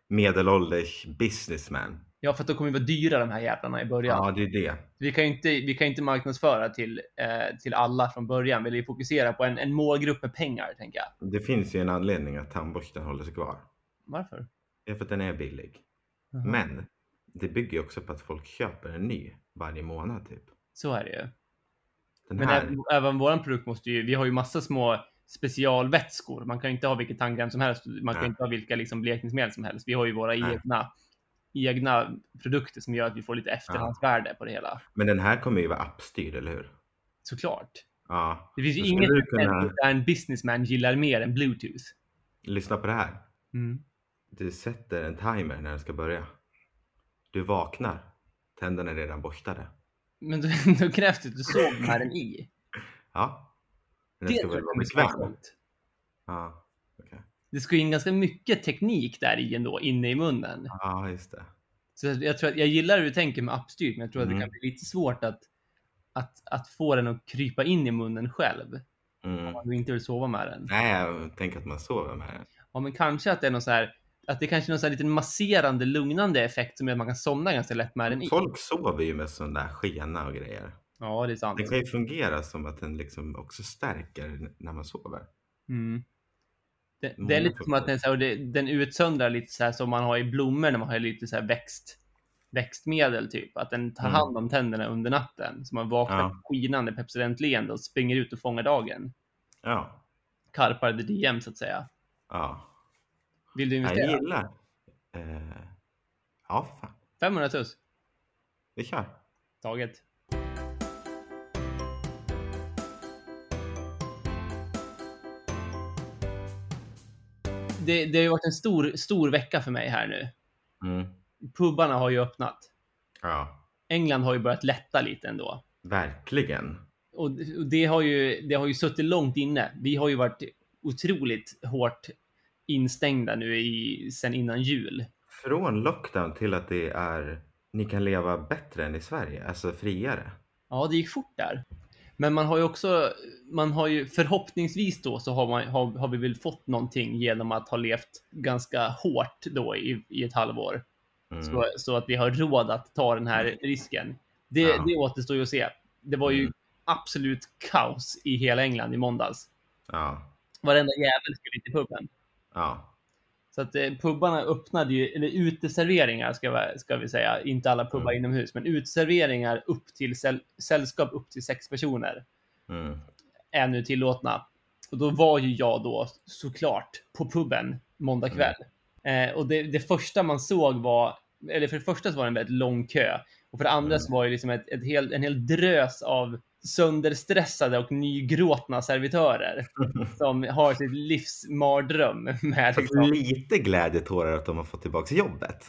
Speaker 1: medelålders businessman.
Speaker 2: Ja, för att de kommer ju vara dyra de här jävlarna i början.
Speaker 1: Ja, det är det.
Speaker 2: Vi kan ju inte, vi kan ju inte marknadsföra till, eh, till alla från början. Vi vill ju fokusera på en, en målgrupp med pengar, tänker jag.
Speaker 1: Det finns ju en anledning att tandborsten håller sig kvar.
Speaker 2: Varför?
Speaker 1: Det är för att den är billig.
Speaker 2: Jaha.
Speaker 1: Men det bygger ju också på att folk köper en ny varje månad typ.
Speaker 2: Så är det ju.
Speaker 1: Den
Speaker 2: Men
Speaker 1: här,
Speaker 2: även, även vår produkt måste ju, vi har ju massa små specialvätskor. Man kan ju inte ha vilket tandkräm som helst. Man
Speaker 1: Nej.
Speaker 2: kan ju inte ha vilka liksom, blekningsmedel som helst. Vi har ju våra
Speaker 1: Nej.
Speaker 2: egna, egna produkter som gör att vi får lite efterhandsvärde på det hela.
Speaker 1: Men den här kommer ju vara appstyrd, eller hur?
Speaker 2: Såklart.
Speaker 1: Ja.
Speaker 2: Det finns ju
Speaker 1: Då skulle
Speaker 2: inget
Speaker 1: du kunna-
Speaker 2: segment där en businessman gillar mer än bluetooth.
Speaker 1: Lyssna på det här.
Speaker 2: Mm.
Speaker 1: Du sätter en timer när den ska börja. Du vaknar. Tänderna är redan borstade.
Speaker 2: Men då, <laughs> då krävs det att du sover med den i.
Speaker 1: Ja. Den
Speaker 2: Det
Speaker 1: ska
Speaker 2: tror
Speaker 1: väl
Speaker 2: jag
Speaker 1: vara
Speaker 2: kommer vara
Speaker 1: bekväm.
Speaker 2: skönt.
Speaker 1: Ja. okej.
Speaker 2: Det ska ju in ganska mycket teknik där i ändå, inne i munnen.
Speaker 1: ja, just det.
Speaker 2: Så jag- jag, tror att, jag gillar hur du tänker med appstyrt, men jag tror att
Speaker 1: Mm.
Speaker 2: det kan bli lite svårt att, att, att få den att krypa in i munnen själv.
Speaker 1: Mm.
Speaker 2: Om du inte vill sova med den.
Speaker 1: Nej, jag tänker att man sover med den.
Speaker 2: Ja, men kanske att det är någon så här, att det kanske är någon så här liten masserande, lugnande effekt som gör att man kan somna ganska lätt med den i.
Speaker 1: Folk sover ju med sån där skena och grejer.
Speaker 2: Ja, det är sant.
Speaker 1: Den kan ju fungera som att den liksom också stärker n- när man sover.
Speaker 2: Mm. Det, det
Speaker 1: Många
Speaker 2: är lite som att den, så här, och det, den utsöndrar lite så här som man har i blommor när man har lite så här växt, växtmedel typ. Att den tar
Speaker 1: Mm.
Speaker 2: hand om tänderna under natten. Så man vaknar
Speaker 1: Ja.
Speaker 2: med skinande Pepsodent-leende och springer ut och fångar dagen.
Speaker 1: Ja.
Speaker 2: Carpar the DM så att säga.
Speaker 1: Ja.
Speaker 2: Vill du
Speaker 1: Jag
Speaker 2: investera?
Speaker 1: gillar. Eh, ja, för fan.
Speaker 2: 500 tus?
Speaker 1: Vi kör.
Speaker 2: Taget. Det, det har ju varit en stor, stor vecka för mig här nu.
Speaker 1: Mm.
Speaker 2: Pubarna har ju öppnat.
Speaker 1: Ja,
Speaker 2: England har ju börjat lätta lite ändå.
Speaker 1: verkligen.
Speaker 2: Och och det har ju, det har ju suttit långt inne. Vi har ju varit otroligt hårt instängda nu i, sen innan jul.
Speaker 1: Från lockdown till att det är ni kan leva bättre än i Sverige, alltså friare.
Speaker 2: Ja, det gick fort där. Men man har ju också, man har ju förhoppningsvis då så har, man, har, har vi väl fått någonting genom att ha levt ganska hårt då i, i ett halvår.
Speaker 1: Mm.
Speaker 2: Så, så att vi har råd att ta den här risken. Det,
Speaker 1: Ja.
Speaker 2: det återstår ju att se. Det var ju
Speaker 1: Mm.
Speaker 2: absolut kaos i hela England i måndags.
Speaker 1: Ja,
Speaker 2: Varenda jävel skulle till puben.
Speaker 1: ja,
Speaker 2: Så att eh, pubarna öppnade ju, eller uteserveringar ska, vi- ska vi säga, inte alla pubar
Speaker 1: Mm.
Speaker 2: inomhus, men uteserveringar upp till säll- sällskap upp till sex personer.
Speaker 1: mm.
Speaker 2: är nu tillåtna. Och då var ju jag då såklart på puben måndag kväll. Eh, och det, det första man såg var, eller för det första så var det en väldigt lång kö. Och för det andra
Speaker 1: Mm.
Speaker 2: så var det liksom ett, ett hel, en hel drös av sönderstressade och nygråtna servitörer som har sitt livs mardröm. Med,
Speaker 1: Fast
Speaker 2: liksom,
Speaker 1: lite glädjetårar att de har fått tillbaka jobbet.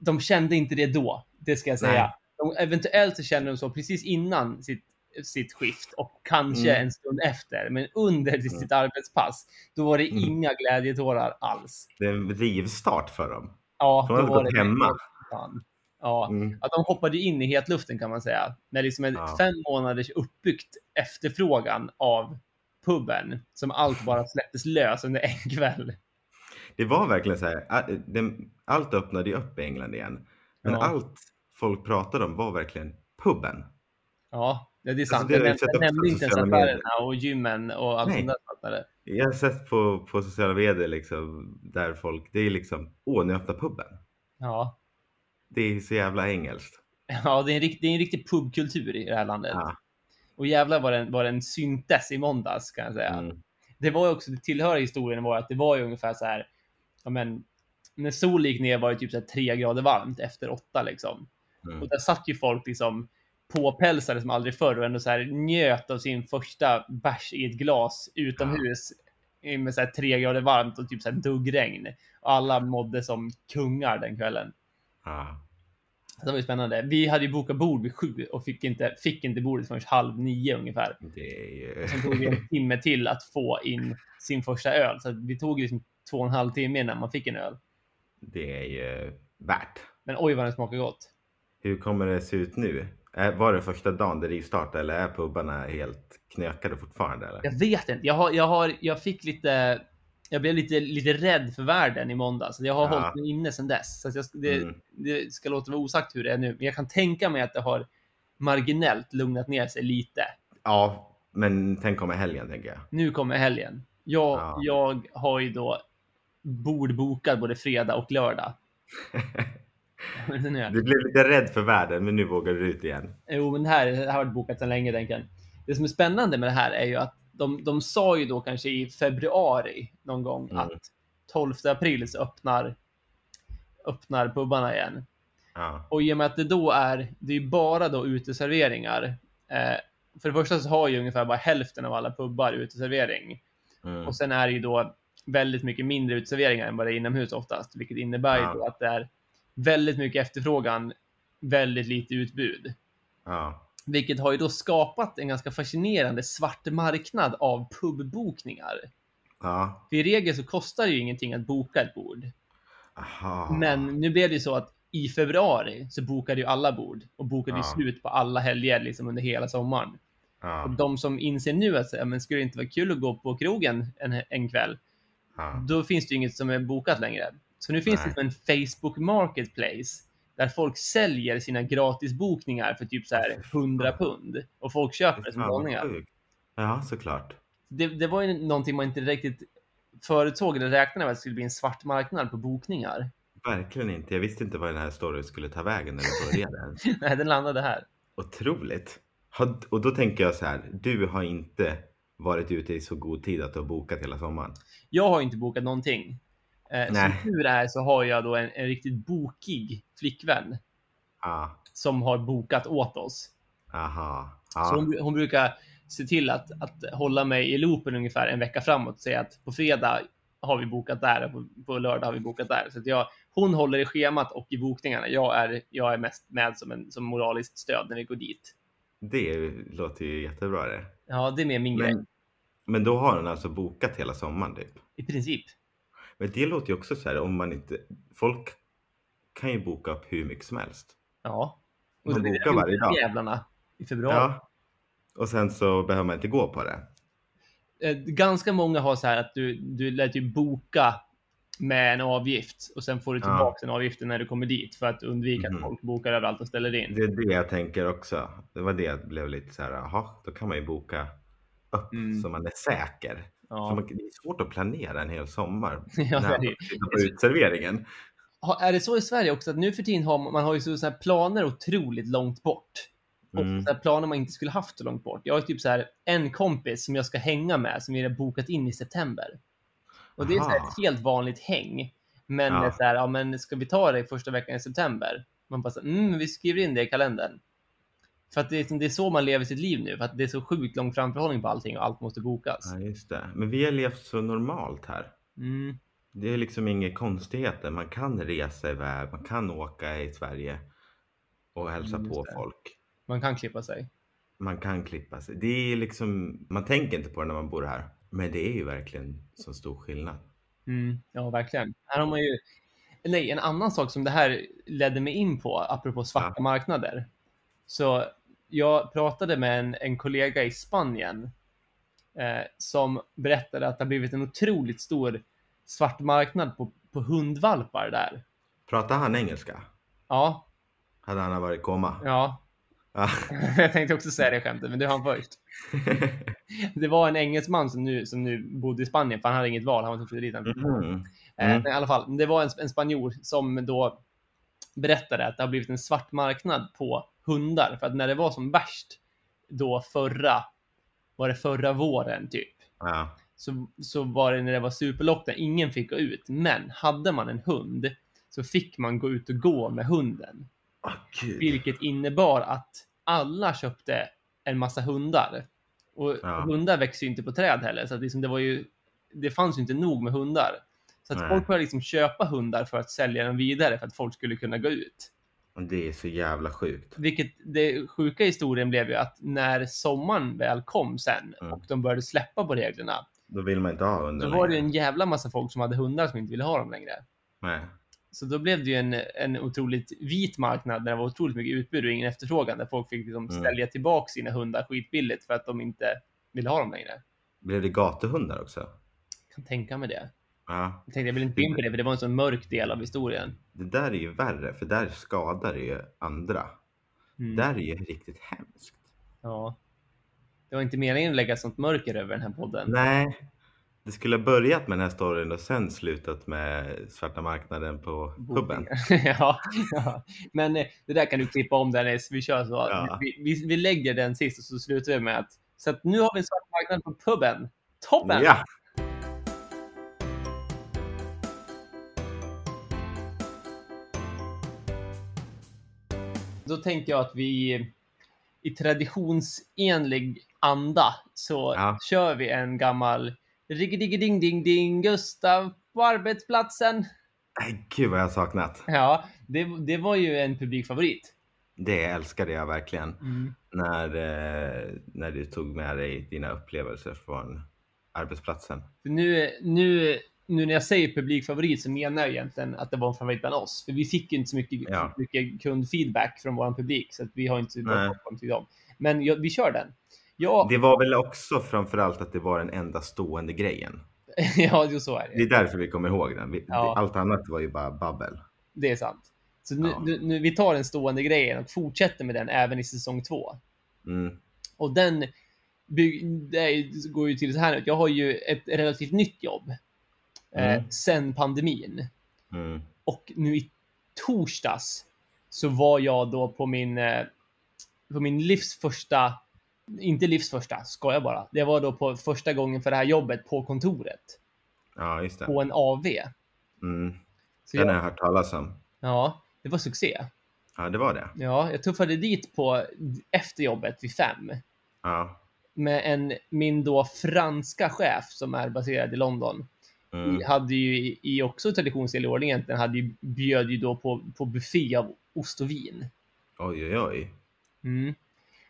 Speaker 2: de kände inte det då, det ska jag
Speaker 1: Nej.
Speaker 2: säga. De, eventuellt så kände de så precis innan sitt, sitt skift och kanske
Speaker 1: Mm.
Speaker 2: en stund efter. Men under sitt arbetspass, då var det
Speaker 1: Mm.
Speaker 2: inga glädjetårar alls.
Speaker 1: Det är en rivstart för dem.
Speaker 2: Ja,
Speaker 1: De har inte gått hemma.
Speaker 2: Fan. Ja.
Speaker 1: Mm.
Speaker 2: ja, de hoppade ju in i hetluften kan man säga. Med liksom en
Speaker 1: Ja.
Speaker 2: fem månaders uppbyggt efterfrågan av puben
Speaker 1: <laughs>
Speaker 2: som allt bara släpptes lös under en kväll.
Speaker 1: Det var verkligen så här. a- det- Allt öppnade ju upp i England igen. Men
Speaker 2: Ja.
Speaker 1: allt folk pratade om var verkligen puben.
Speaker 2: Ja, det är sant.
Speaker 1: Alltså, det har
Speaker 2: jag
Speaker 1: jag
Speaker 2: näm-
Speaker 1: sett
Speaker 2: jag
Speaker 1: också
Speaker 2: nämnde
Speaker 1: på
Speaker 2: inte ens
Speaker 1: sociala medier.
Speaker 2: affärerna och gymmen och allt
Speaker 1: Nej.
Speaker 2: sånt där. som öppnade.
Speaker 1: Jag har sett på, på sociala medier liksom, där folk, det är liksom, åh, nu öppnar puben.
Speaker 2: Ja.
Speaker 1: Det är så jävla engelskt.
Speaker 2: Ja, det är en, rikt, det är en riktig pubkultur i det här landet.
Speaker 1: Ja.
Speaker 2: Och jävlar var den, var den syntes i måndags kan jag säga.
Speaker 1: Mm.
Speaker 2: Det var ju också, det tillhör historien var att det var ju ungefär så här, ja men, när solen gick ner var det typ så här tre grader varmt efter åtta liksom.
Speaker 1: Mm.
Speaker 2: Och där satt ju folk liksom påpälsade som aldrig förr och ändå så här njöt av sin första bärs i ett glas utomhus i- med så här tre grader varmt och typ så här duggregn. Och alla mådde som kungar den kvällen.
Speaker 1: Ja.
Speaker 2: Så Det var ju spännande. Vi hade ju bokat bord vid sju och fick inte, fick inte bordet förrän halv nio ungefär.
Speaker 1: Det är
Speaker 2: Sen tog det
Speaker 1: ju... <laughs>
Speaker 2: en timme till att få in sin första öl. Så att vi tog ju liksom två och en halv timme innan man fick en öl.
Speaker 1: Det är ju värt.
Speaker 2: Men oj vad den smakade gott.
Speaker 1: Hur kommer det se ut nu? Är- Var det första dagen det rivstartade eller är pubarna helt knökade fortfarande? Eller?
Speaker 2: Jag vet inte. Jag, har, jag, har, jag fick lite... Jag blev lite, lite rädd för världen i måndags. Jag har
Speaker 1: Ja.
Speaker 2: hållit mig inne sedan dess. Så att jag, det,
Speaker 1: Mm.
Speaker 2: det ska låta vara osagt hur det är nu. Men jag kan tänka mig att det har marginellt lugnat ner sig lite.
Speaker 1: Ja, men tänk kommer helgen tänker jag.
Speaker 2: Nu kommer helgen. Jag,
Speaker 1: Ja.
Speaker 2: jag har ju då bord bokad både fredag
Speaker 1: <laughs>
Speaker 2: och lördag. Men den är-
Speaker 1: Du blev lite rädd för världen men nu vågar du ut igen.
Speaker 2: Jo, men det här, det här har varit bokat sedan länge, tänker jag. Det som är spännande med det här är ju att de, de sa ju då kanske i februari någon gång
Speaker 1: Mm.
Speaker 2: att 12 april så öppnar, öppnar pubarna igen.
Speaker 1: Ja,
Speaker 2: Och i och med att det då är, det är ju bara då uteserveringar. Eh, för det första så har ju ungefär bara hälften av alla pubbar uteservering.
Speaker 1: mm.
Speaker 2: Och sen är det ju då väldigt mycket mindre uteserveringar än vad det är inomhus oftast, vilket innebär ju
Speaker 1: Ja.
Speaker 2: då att det är väldigt mycket efterfrågan, väldigt lite utbud.
Speaker 1: ja.
Speaker 2: Vilket har ju då skapat en ganska fascinerande svart marknad av pubbokningar.
Speaker 1: ja.
Speaker 2: För i regel så kostar det ju ingenting att boka ett bord.
Speaker 1: Aha.
Speaker 2: Men nu blev det ju så att i februari så bokade ju alla bord och bokade ju
Speaker 1: Ja.
Speaker 2: slut på alla helger liksom under hela sommaren. Och
Speaker 1: ja.
Speaker 2: de som inser nu att så här, men skulle det inte vara kul att gå på krogen en, en kväll,
Speaker 1: ja.
Speaker 2: då finns det ju inget som är bokat längre. Så nu finns
Speaker 1: Nej.
Speaker 2: det som en Facebook Marketplace där folk säljer sina gratisbokningar för typ så här 100 pund och folk köper det som
Speaker 1: Fan, vad
Speaker 2: galningar.
Speaker 1: sjukt. Ja, såklart.
Speaker 2: Det, det var ju någonting man inte riktigt förutsåg eller räknade med att det skulle bli en svart marknad på bokningar. <laughs>
Speaker 1: Verkligen inte. Jag visste inte vad den här storyn skulle ta vägen när den började.
Speaker 2: <laughs>
Speaker 1: ens.
Speaker 2: Nej, den landade här.
Speaker 1: Otroligt. Har- Och då tänker jag så här, du har inte varit ute i så god tid att du har bokat hela sommaren.
Speaker 2: Jag har inte bokat någonting. Eh, som
Speaker 1: Nej.
Speaker 2: tur är så har jag då en, en riktigt bokig flickvän
Speaker 1: Ja,
Speaker 2: som har bokat åt oss.
Speaker 1: aha.
Speaker 2: Så
Speaker 1: Ja,
Speaker 2: hon, hon brukar se till att, att hålla mig i loopen ungefär en vecka framåt och säga att på fredag har vi bokat där och på, på lördag har vi bokat där. Så att jag, hon håller i schemat och i bokningarna. Jag är, jag är mest med som, en, som moraliskt stöd när vi går dit.
Speaker 1: det är ju- låter ju jättebra det.
Speaker 2: Ja, det är mer min grej.
Speaker 1: Men, men då har hon alltså bokat hela sommaren typ.
Speaker 2: I princip.
Speaker 1: Men det låter ju också så här om man inte, folk kan ju boka upp hur mycket som helst.
Speaker 2: Ja.
Speaker 1: Man
Speaker 2: det är
Speaker 1: bokar varje dag.
Speaker 2: Jävlarna i februari.
Speaker 1: Ja. Och sen så behöver man inte gå på det.
Speaker 2: Eh, Ganska många har så här att du, du lär typ boka med en avgift och sen får du
Speaker 1: Ja.
Speaker 2: tillbaka den avgiften när du kommer dit för att undvika
Speaker 1: Mhm.
Speaker 2: att folk bokar överallt och ställer in.
Speaker 1: Det är det jag tänker också. Det var det jag blev lite så här, jaha, då kan man ju boka upp
Speaker 2: Mm.
Speaker 1: så man är säker.
Speaker 2: Ja.
Speaker 1: För man, det är svårt att planera en hel sommar.
Speaker 2: <laughs> Ja,
Speaker 1: när
Speaker 2: det är-
Speaker 1: man sitter på utserveringen.
Speaker 2: Ha- Är det så i Sverige också att nu för tiden har man, man har ju så- såna här planer otroligt långt bort? Och
Speaker 1: Mm.
Speaker 2: så här planer man inte skulle haft så långt bort. Jag har ju typ så här en kompis som jag ska hänga med som vi har bokat in i september. Och det är så här
Speaker 1: Aha.
Speaker 2: ett helt vanligt häng. Men
Speaker 1: Ja.
Speaker 2: det är så här, ja men ska vi ta det första veckan i september? Man bara så här, mm, vi skriver in det i kalendern. För att det är, liksom- det är så man lever sitt liv nu, för att det är så sjukt lång framförhållning på allting och allt måste bokas.
Speaker 1: Ja, just det. Men vi har levt så normalt här.
Speaker 2: Mm.
Speaker 1: Det är liksom inga konstigheter. Man kan resa iväg, man kan åka i Sverige och hälsa
Speaker 2: Mm,
Speaker 1: på
Speaker 2: just det.
Speaker 1: folk.
Speaker 2: Man kan klippa sig.
Speaker 1: Man kan klippa sig. Det är liksom, man tänker inte på det när man bor här. Men det är ju verkligen så stor skillnad.
Speaker 2: Mm, ja, verkligen. Här har man ju... Nej, en annan sak som det här ledde mig in på, apropå svarta marknader. Så jag pratade med en, en kollega i Spanien eh, som berättade att det har blivit en otroligt stor svart marknad på, på hundvalpar där.
Speaker 1: Pratar han engelska?
Speaker 2: Ja,
Speaker 1: Hade han varit i koma?
Speaker 2: ja. <laughs>
Speaker 1: Ja.
Speaker 2: jag tänkte också säga det skämtet, men du hann först. Det var en engelsman som nu, som nu bodde i Spanien, för han hade inget val. Han var tvungen att flytta dit.
Speaker 1: Mhm.
Speaker 2: Eh,
Speaker 1: Mm.
Speaker 2: Men i alla fall, det var en, en spanjor som då berättade att det har blivit en svart marknad på hundar. För att när det var som värst då förra, var det förra våren typ,
Speaker 1: Ja.
Speaker 2: så, så var det när det var superlockdown, ingen fick gå ut. Men hade man en hund så fick man gå ut och gå med hunden.
Speaker 1: Ah, gud.
Speaker 2: Vilket innebar att alla köpte en massa hundar. Och
Speaker 1: Ja.
Speaker 2: hundar växer ju inte på träd heller, så att liksom det, var ju, det fanns ju inte nog med hundar. Så att
Speaker 1: Nej.
Speaker 2: folk började liksom köpa hundar för att sälja dem vidare för att folk skulle kunna gå ut.
Speaker 1: Det är så jävla sjukt.
Speaker 2: Vilket det sjuka i historien blev ju att när sommaren väl kom sen
Speaker 1: Mm.
Speaker 2: och de började släppa på reglerna,
Speaker 1: Då vill man inte ha hunden
Speaker 2: då var det ju
Speaker 1: längre.
Speaker 2: en jävla massa folk som hade hundar som inte ville ha dem längre.
Speaker 1: Nej.
Speaker 2: Så då blev det ju en, en otroligt vit marknad när det var otroligt mycket utbud och ingen efterfrågan där folk fick liksom
Speaker 1: Mm.
Speaker 2: sälja tillbaka sina hundar skitbilligt för att de inte ville ha dem längre.
Speaker 1: Blev det gatuhundar också?
Speaker 2: Jag kan tänka mig det.
Speaker 1: Ja.
Speaker 2: Jag tänkte jag vill inte gå in på det för det var en sån mörk del av historien.
Speaker 1: Det där är ju värre för där skadar det ju andra.
Speaker 2: Mm.
Speaker 1: Det där är ju riktigt hemskt.
Speaker 2: Ja. Det var inte meningen att lägga sånt mörker över den här podden.
Speaker 1: Nej, det skulle ha börjat med den här storyn och sen slutat med svarta marknaden på puben.
Speaker 2: <laughs> ja, ja, men eh, det där kan du klippa om Dennis. Vi kör så.
Speaker 1: Ja.
Speaker 2: Vi, vi, vi lägger den sist och så slutar vi med att så att nu har vi en svart marknad på puben. Toppen!
Speaker 1: Ja,
Speaker 2: Då tänker jag att vi i traditionsenlig anda så
Speaker 1: Ja.
Speaker 2: kör vi en gammal ding ding ding Gustav på arbetsplatsen.
Speaker 1: Nej, gud vad jag har saknat.
Speaker 2: Ja, det, det var ju en publikfavorit.
Speaker 1: Det älskade jag verkligen. När, eh, när du tog med dig dina upplevelser från arbetsplatsen.
Speaker 2: För Nu, nu, nu när jag säger publikfavorit så menar jag egentligen att det var en favorit bland oss. För vi fick ju inte så mycket,
Speaker 1: Ja.
Speaker 2: mycket kundfeedback från vår publik så att vi har inte så bra
Speaker 1: Nej.
Speaker 2: koll på dem till dem. Men jag, vi kör den. Ja,
Speaker 1: Det var väl också framförallt att det var den enda stående grejen.
Speaker 2: <laughs> ja jo, så är
Speaker 1: Det
Speaker 2: det.
Speaker 1: är därför vi kommer ihåg den. Vi,
Speaker 2: Ja.
Speaker 1: Allt annat var ju bara babbel.
Speaker 2: Det är sant. Så nu,
Speaker 1: Ja.
Speaker 2: nu, nu, vi tar den stående grejen och fortsätter med den även i säsong två.
Speaker 1: Mm.
Speaker 2: Och den byg, det är ju- går ju till så här nu. att Jag har ju ett relativt nytt jobb eh,
Speaker 1: Mm.
Speaker 2: sen pandemin.
Speaker 1: Mm.
Speaker 2: Och nu i torsdags så var jag då på min, eh, på min livs första, inte livs första, ska jag bara. Det var då på första gången för det här jobbet på kontoret,
Speaker 1: Ja, just det.
Speaker 2: på en AV.
Speaker 1: Mm.
Speaker 2: Så
Speaker 1: Den har
Speaker 2: jag,
Speaker 1: jag hört talas om.
Speaker 2: ja, det var succé.
Speaker 1: Ja, det var det.
Speaker 2: Ja, jag tuffade dit på efter jobbet vid fem
Speaker 1: Ja.
Speaker 2: med en, min då franska chef som är baserad i London.
Speaker 1: Mm.
Speaker 2: hade ju i, i också traditionsenlig ordning egentligen, hade ju, bjöd ju då på, på buffé av ost och vin.
Speaker 1: Oj, oj, oj.
Speaker 2: Mm.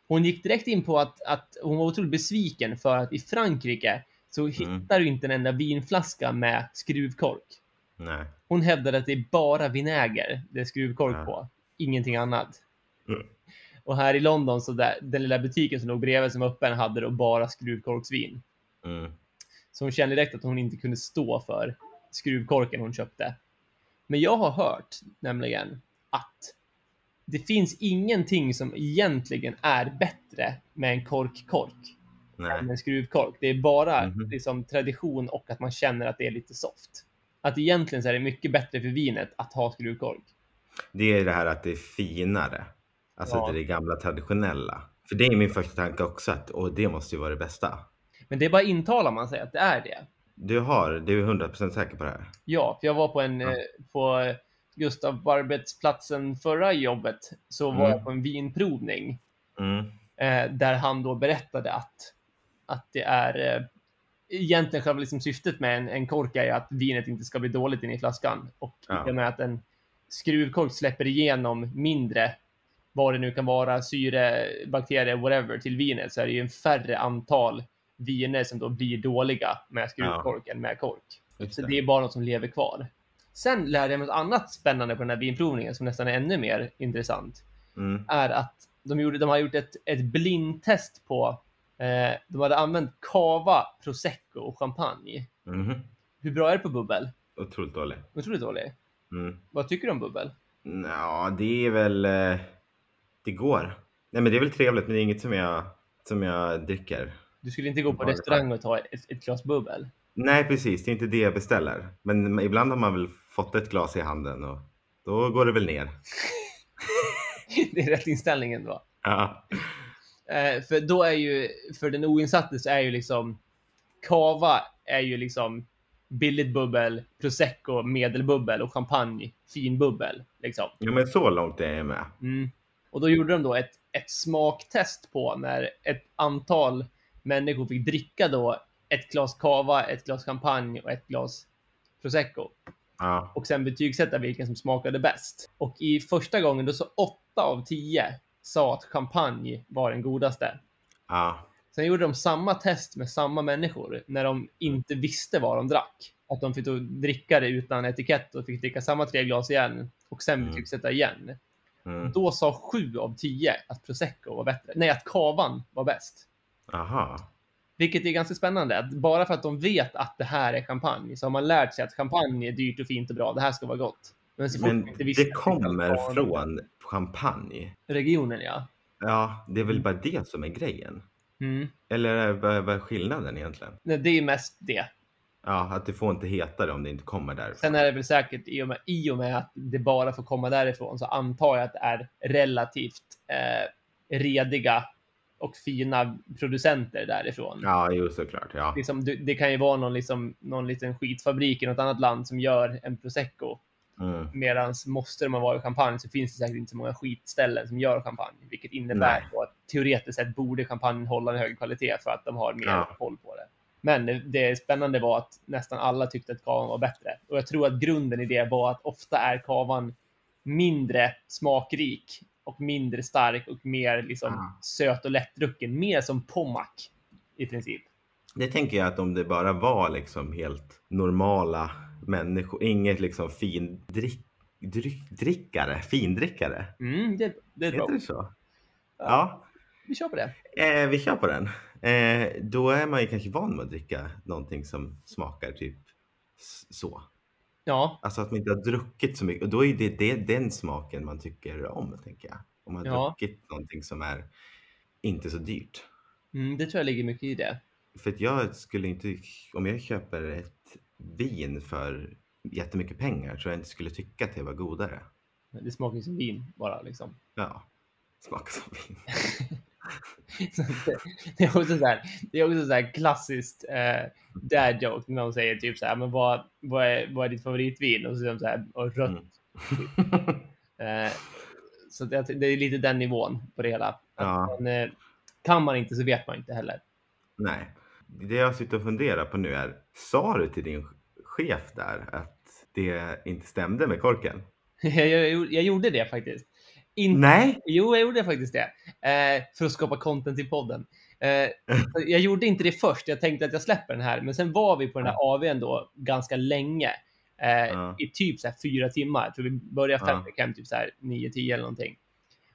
Speaker 2: Hon gick direkt in på att, att hon var otroligt besviken för att i Frankrike så hittar du inte en enda vinflaska med skruvkork.
Speaker 1: Nej.
Speaker 2: Hon hävdade att det är bara vinäger det är skruvkork
Speaker 1: Ja.
Speaker 2: på, ingenting annat.
Speaker 1: Mm.
Speaker 2: Och här i London, så där, den lilla butiken som låg bredvid som var öppen hade då bara skruvkorksvin.
Speaker 1: Mm.
Speaker 2: Så hon kände direkt att hon inte kunde stå för skruvkorken hon köpte. Men jag har hört nämligen att det finns ingenting som egentligen är bättre med en korkkork
Speaker 1: Nej.
Speaker 2: än en skruvkork. Det är bara
Speaker 1: Mhm.
Speaker 2: liksom tradition och att man känner att det är lite soft. Att egentligen så är det mycket bättre för vinet att ha skruvkork.
Speaker 1: Det är det här att det är finare. Alltså
Speaker 2: Ja.
Speaker 1: det är det gamla traditionella. För det är min första tanke också att åh, det måste ju vara det bästa.
Speaker 2: Men det är bara intalar man sig att det är det.
Speaker 1: Du har, du är 100% säker på det här?
Speaker 2: Ja, för jag var på en,
Speaker 1: Ja.
Speaker 2: eh, på Gustav på arbetsplatsen förra jobbet, så var
Speaker 1: Mm.
Speaker 2: jag på en vinprovning
Speaker 1: Mm.
Speaker 2: eh, där han då berättade att, att det är eh, egentligen själva liksom syftet med en, en kork är ju att vinet inte ska bli dåligt inne i flaskan och
Speaker 1: Ja.
Speaker 2: i och med att en skruvkork släpper igenom mindre vad det nu kan vara, syre, bakterier, whatever, till vinet så är det ju en färre antal viner som då blir dåliga med skruvkork än med kork.
Speaker 1: Just
Speaker 2: Så
Speaker 1: det.
Speaker 2: det är bara något som lever kvar. Sen lärde jag mig något annat spännande på den här vinprovningen som nästan är ännu mer intressant
Speaker 1: Mm.
Speaker 2: är att de, gjorde, de har gjort ett, ett blindtest på, eh, de hade använt kava, prosecco och champagne.
Speaker 1: Mhm.
Speaker 2: Hur bra är det på bubbel?
Speaker 1: Otroligt dålig.
Speaker 2: Otroligt dålig.
Speaker 1: Mm.
Speaker 2: Vad tycker du om bubbel?
Speaker 1: Ja, det är väl... eh, Det går. Nej, men det är väl trevligt, men det är inget som jag, som jag dricker.
Speaker 2: Du skulle inte gå på
Speaker 1: Ja, det är
Speaker 2: restaurang och ta ett, ett glas bubbel. <laughs>
Speaker 1: Nej, precis. Det är inte det jag beställer. Men ibland har man väl fått ett glas i handen och då går det väl ner.
Speaker 2: det är rätt inställning ändå.
Speaker 1: Ja.
Speaker 2: Eh, för då är ju, för den oinsatte så är ju liksom, kava är ju liksom billigt bubbel, prosecco medelbubbel och champagne fin bubbel. Liksom.
Speaker 1: ja, men så långt är jag med.
Speaker 2: Mm. Och då gjorde de då ett, ett smaktest på när ett antal människor fick dricka då ett glas cava, ett glas champagne och ett glas prosecco
Speaker 1: Ja.
Speaker 2: och sen betygsätta vilken som smakade bäst. Och i första gången då så åtta av tio sa att champagne var den godaste.
Speaker 1: ja.
Speaker 2: Sen gjorde de samma test med samma människor när de inte visste vad de drack. Att de fick då dricka det utan etikett och fick dricka samma tre glas igen och sen
Speaker 1: Mm.
Speaker 2: betygsätta igen.
Speaker 1: Mm.
Speaker 2: Då sa 7 av 10 att prosecco var bättre. Nej, att kavan var bäst.
Speaker 1: Aha.
Speaker 2: Vilket är ganska spännande. Att bara för att de vet att det här är champagne så har man lärt sig att champagne är dyrt och fint och bra. Det här ska vara gott. Men, så fort
Speaker 1: Men
Speaker 2: man inte visste
Speaker 1: det
Speaker 2: att var
Speaker 1: kommer
Speaker 2: kavan-
Speaker 1: från champagne.
Speaker 2: regionen, ja.
Speaker 1: Ja, det är väl bara det som är grejen.
Speaker 2: Mm.
Speaker 1: Eller vad vad är skillnaden egentligen?
Speaker 2: Nej, Det är mest det.
Speaker 1: Ja, att det får inte heta det om det inte kommer därifrån.
Speaker 2: Sen är det väl säkert i och med, i och med att det bara får komma därifrån så antar jag att det är relativt eh, rediga och fina producenter därifrån.
Speaker 1: Ja, jo såklart. Ja.
Speaker 2: Liksom, du, det kan ju vara någon, liksom, någon liten skitfabrik i något annat land som gör en prosecco.
Speaker 1: Mm.
Speaker 2: Medan måste man vara i champagne så finns det säkert inte så många skitställen som gör champagne. Vilket innebär
Speaker 1: Nej.
Speaker 2: då att teoretiskt sett borde champagne hålla en hög kvalitet för att de har mer
Speaker 1: Ja.
Speaker 2: koll på det. Men det, det spännande var att nästan alla tyckte att kavan var bättre. Och jag tror att grunden i det var att ofta är kavan mindre smakrik och mindre stark och mer liksom
Speaker 1: Ah.
Speaker 2: söt och lättdrucken. Mer som pommac i princip.
Speaker 1: Det tänker jag att om det bara var liksom helt normala människor, inget liksom findrick, dryck, drickare, findrickare.
Speaker 2: Mm, det, det är bra.
Speaker 1: Heter det så? Ja,
Speaker 2: Vi kör på det.
Speaker 1: eh, vi kör på den. Eh, då är man ju kanske van med att dricka någonting som smakar typ s- så.
Speaker 2: Ja,
Speaker 1: Alltså att man inte har druckit så mycket. Och då är det, det den smaken man tycker om, tänker jag. Om man har
Speaker 2: Ja.
Speaker 1: druckit någonting som är inte så dyrt.
Speaker 2: mm, det tror jag ligger mycket i det.
Speaker 1: För att jag skulle inte, om jag köper ett vin för jättemycket pengar tror jag inte skulle tycka att det var godare.
Speaker 2: Men Det smakar ju som vin bara liksom. <laughs>
Speaker 1: Ja, smakar som vin.
Speaker 2: Så att det- det är också så här, det är också så här klassiskt eh, dad joke när de säger typ så här, men vad, vad, är, vad är ditt favoritvin? Och så säger de så här, och rött.
Speaker 1: Mm.
Speaker 2: Eh, så det, det är lite den nivån på det hela. Att
Speaker 1: Ja.
Speaker 2: man, eh, kan man inte så vet man inte heller. <laughs>
Speaker 1: Nej. Det jag sitter och funderar på nu är, sa du till din chef där att det inte stämde med korken?
Speaker 2: jag, jag, jag gjorde det faktiskt. Inte
Speaker 1: Nej.
Speaker 2: Jo, jag gjorde faktiskt det. Eh, för att skapa content till podden. Eh, så jag gjorde inte det först. Jag tänkte att jag släpper den här. Men sen var vi på den här AWn då ganska länge. Eh,
Speaker 1: Ja.
Speaker 2: I typ så här fyra timmar. Jag tror vi började fem,
Speaker 1: Ja.
Speaker 2: gick hem typ så här nio, tio eller någonting.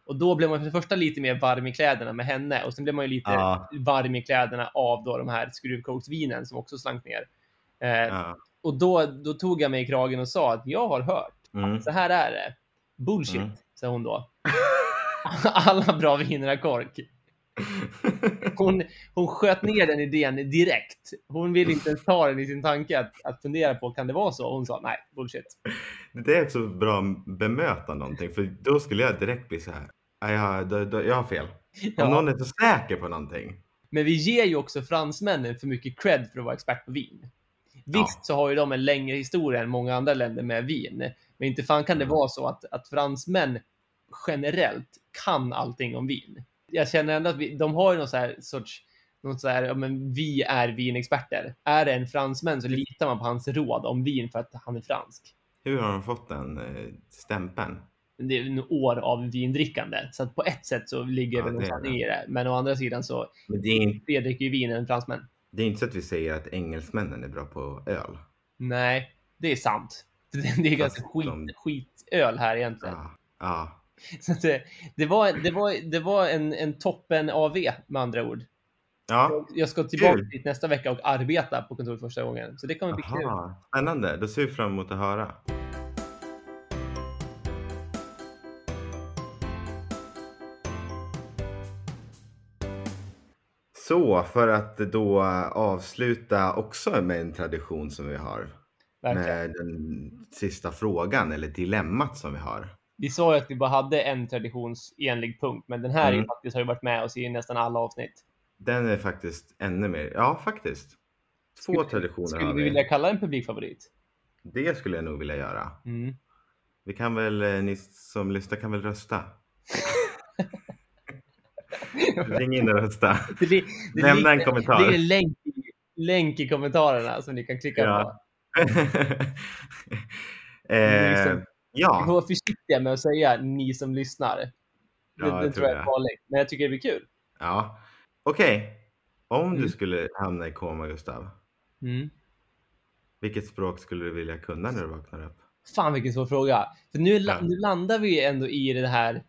Speaker 2: Och då blev man för det första lite mer varm i kläderna med henne. Och sen blev man ju lite
Speaker 1: Ja,
Speaker 2: varm i kläderna av då de här skruvkoksvinen som också slank ner. Eh,
Speaker 1: ja.
Speaker 2: Och då, då tog jag mig i kragen och sa att jag har hört
Speaker 1: Mm.
Speaker 2: så här är det. Bullshit,
Speaker 1: Mm.
Speaker 2: sa hon då. <laughs> Alla bra viner har kork. Hon, hon sköt ner den idén direkt. Hon ville inte ens ta den i sin tanke att, att fundera på, kan det vara så? Hon sa, nej, bullshit.
Speaker 1: <laughs> Det är ett så bra bemöta någonting för då skulle jag direkt bli så här. "Ja, Jag, då- då- jag har fel. Om
Speaker 2: Ja.
Speaker 1: någon är så säker på någonting.
Speaker 2: Men vi ger ju också fransmännen för mycket cred för att vara expert på vin. Visst
Speaker 1: Ja.
Speaker 2: så har ju de en längre historia än många andra länder med vin. Men inte fan kan det
Speaker 1: Mm.
Speaker 2: vara så att, att fransmän generellt kan allting om vin. Jag känner ändå att vi, de har ju någon så här sorts, någon så här, ja, men vi är vinexperter. Är det en fransmän
Speaker 1: Mm.
Speaker 2: så litar man på hans råd om vin för att han är fransk.
Speaker 1: Hur har de fått den eh, stämpeln?
Speaker 2: Men Det är en år av vindrickande, så att på ett sätt så ligger
Speaker 1: Ja,
Speaker 2: väl
Speaker 1: det är
Speaker 2: någon sanning
Speaker 1: det.
Speaker 2: i det. Men å andra sidan så,
Speaker 1: Men det, är inte,
Speaker 2: fler dricker ju vin än fransmän.
Speaker 1: det är inte så att vi säger att engelsmännen är bra på öl.
Speaker 2: Nej, det är sant. <laughs> Det det är ganska
Speaker 1: Fast
Speaker 2: skit,
Speaker 1: de-
Speaker 2: skitöl här egentligen.
Speaker 1: Ja, ja,
Speaker 2: <laughs> Så att det, det var, det var, det var en, en toppen AV med andra ord.
Speaker 1: ja.
Speaker 2: Jag ska tillbaka
Speaker 1: Kul.
Speaker 2: dit nästa vecka och arbeta på kontoret första gången. Så det kommer bli kul.
Speaker 1: Aha, spännande. Då ser vi fram emot att höra. Så för att då avsluta också med en tradition som vi har.
Speaker 2: Verkligen.
Speaker 1: Med den sista frågan eller dilemmat som vi har.
Speaker 2: Vi sa ju att vi bara hade en traditionsenlig punkt, men den här är ju
Speaker 1: Mm.
Speaker 2: faktiskt har ju varit med oss i nästan alla avsnitt.
Speaker 1: Den är faktiskt ännu mer, ja faktiskt. Två
Speaker 2: Skulle-
Speaker 1: traditioner
Speaker 2: Skulle
Speaker 1: har
Speaker 2: vi
Speaker 1: vi.
Speaker 2: vilja kalla den publikfavorit?
Speaker 1: Det skulle jag nog vilja göra.
Speaker 2: Mm.
Speaker 1: Vi kan väl, eh, ni som lyssnar kan väl rösta. <laughs> Ring in och rösta.
Speaker 2: <laughs> Det li- det
Speaker 1: Lämna
Speaker 2: ligger-
Speaker 1: en kommentar.
Speaker 2: Det är en länk i, länk i kommentarerna som ni kan klicka
Speaker 1: Ja.
Speaker 2: på.
Speaker 1: <laughs>
Speaker 2: är
Speaker 1: eh,
Speaker 2: liksom- Vi får
Speaker 1: ja,
Speaker 2: vara försiktiga med att säga ni som lyssnar. Det,
Speaker 1: Ja, jag
Speaker 2: det
Speaker 1: tror
Speaker 2: tror jag
Speaker 1: det.
Speaker 2: är farligt. Men jag tycker det blir kul.
Speaker 1: ja. okej. Om du
Speaker 2: Mm.
Speaker 1: skulle hamna i koma Gustav,
Speaker 2: Mm.
Speaker 1: vilket språk skulle du vilja kunna när du vaknar upp?
Speaker 2: Fan vilken svår fråga. För nu, la-
Speaker 1: Ja.
Speaker 2: nu landar vi ju ändå i det här.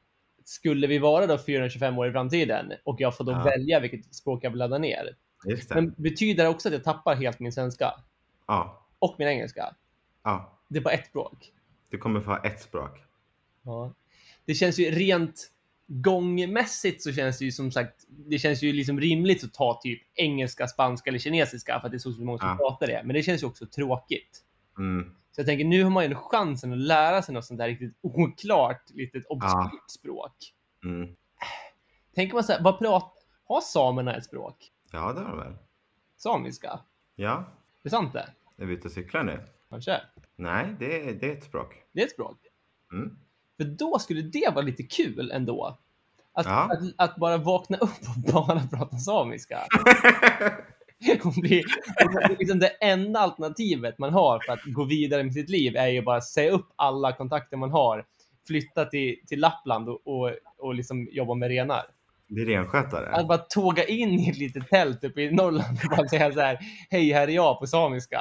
Speaker 2: Skulle vi vara då 425 år i framtiden och jag får då
Speaker 1: Ja.
Speaker 2: välja vilket språk jag vill ladda ner.
Speaker 1: Just det.
Speaker 2: Men betyder det också att jag tappar helt min svenska
Speaker 1: Ja,
Speaker 2: och min engelska?
Speaker 1: ja,
Speaker 2: Det är bara ett språk.
Speaker 1: du kommer få ha ett språk.
Speaker 2: Ja. Det känns ju rent gångmässigt så känns det ju som sagt. Det känns ju liksom rimligt att ta typ engelska, spanska eller kinesiska för att det är så många som
Speaker 1: Ja.
Speaker 2: pratar det. Men det känns ju också tråkigt.
Speaker 1: Mm.
Speaker 2: Så jag tänker nu har man ju chansen att lära sig något sånt där riktigt oklart litet obskyrt språk.
Speaker 1: Mm.
Speaker 2: Tänker man så här, vad pratar, har samerna ett språk?
Speaker 1: Ja, det har du väl?
Speaker 2: Samiska?
Speaker 1: Ja,
Speaker 2: Det är sant det?
Speaker 1: är vi ute och cyklar nu?
Speaker 2: Kanske.
Speaker 1: Nej, det, är- det är ett
Speaker 2: <laughs>
Speaker 1: språk.
Speaker 2: Det är ett språk.
Speaker 1: Mm.
Speaker 2: För då skulle det vara lite kul ändå. Att,
Speaker 1: Ja.
Speaker 2: att, att bara vakna upp och <laughs> bara prata samiska. <laughs> Det kommer bli, det är liksom det enda alternativet man har för att gå vidare med sitt liv är ju bara att säga upp alla kontakter man har, flytta till, till Lappland och, och, och liksom jobba med renar.
Speaker 1: Det är renskötare.
Speaker 2: Att bara tåga in i ett litet tält uppe i Norrland och bara säga så här, hej här är jag på samiska.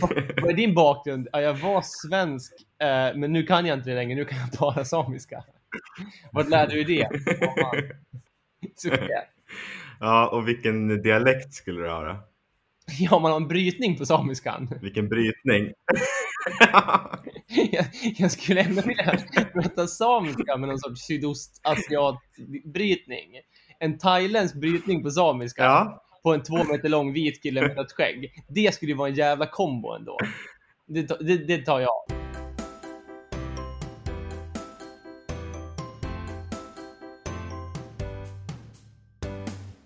Speaker 2: Vad är din bakgrund? Ja, jag var svensk, eh, men nu kan jag inte det längre, nu kan jag bara samiska. Vad lärde du dig det? Ja, man. Succé.
Speaker 1: Ja, och vilken dialekt skulle du ha då?
Speaker 2: Ja, man har en brytning på samiskan.
Speaker 1: Vilken brytning? <laughs>
Speaker 2: jag, jag skulle ändå vilja prata samiska med någon sorts sydostasiat-brytning. En thailändsk brytning på samiska
Speaker 1: ja,
Speaker 2: på en två meter lång vit kille med ett skägg. Det skulle ju vara en jävla kombo ändå. Det, ta- det, det tar jag.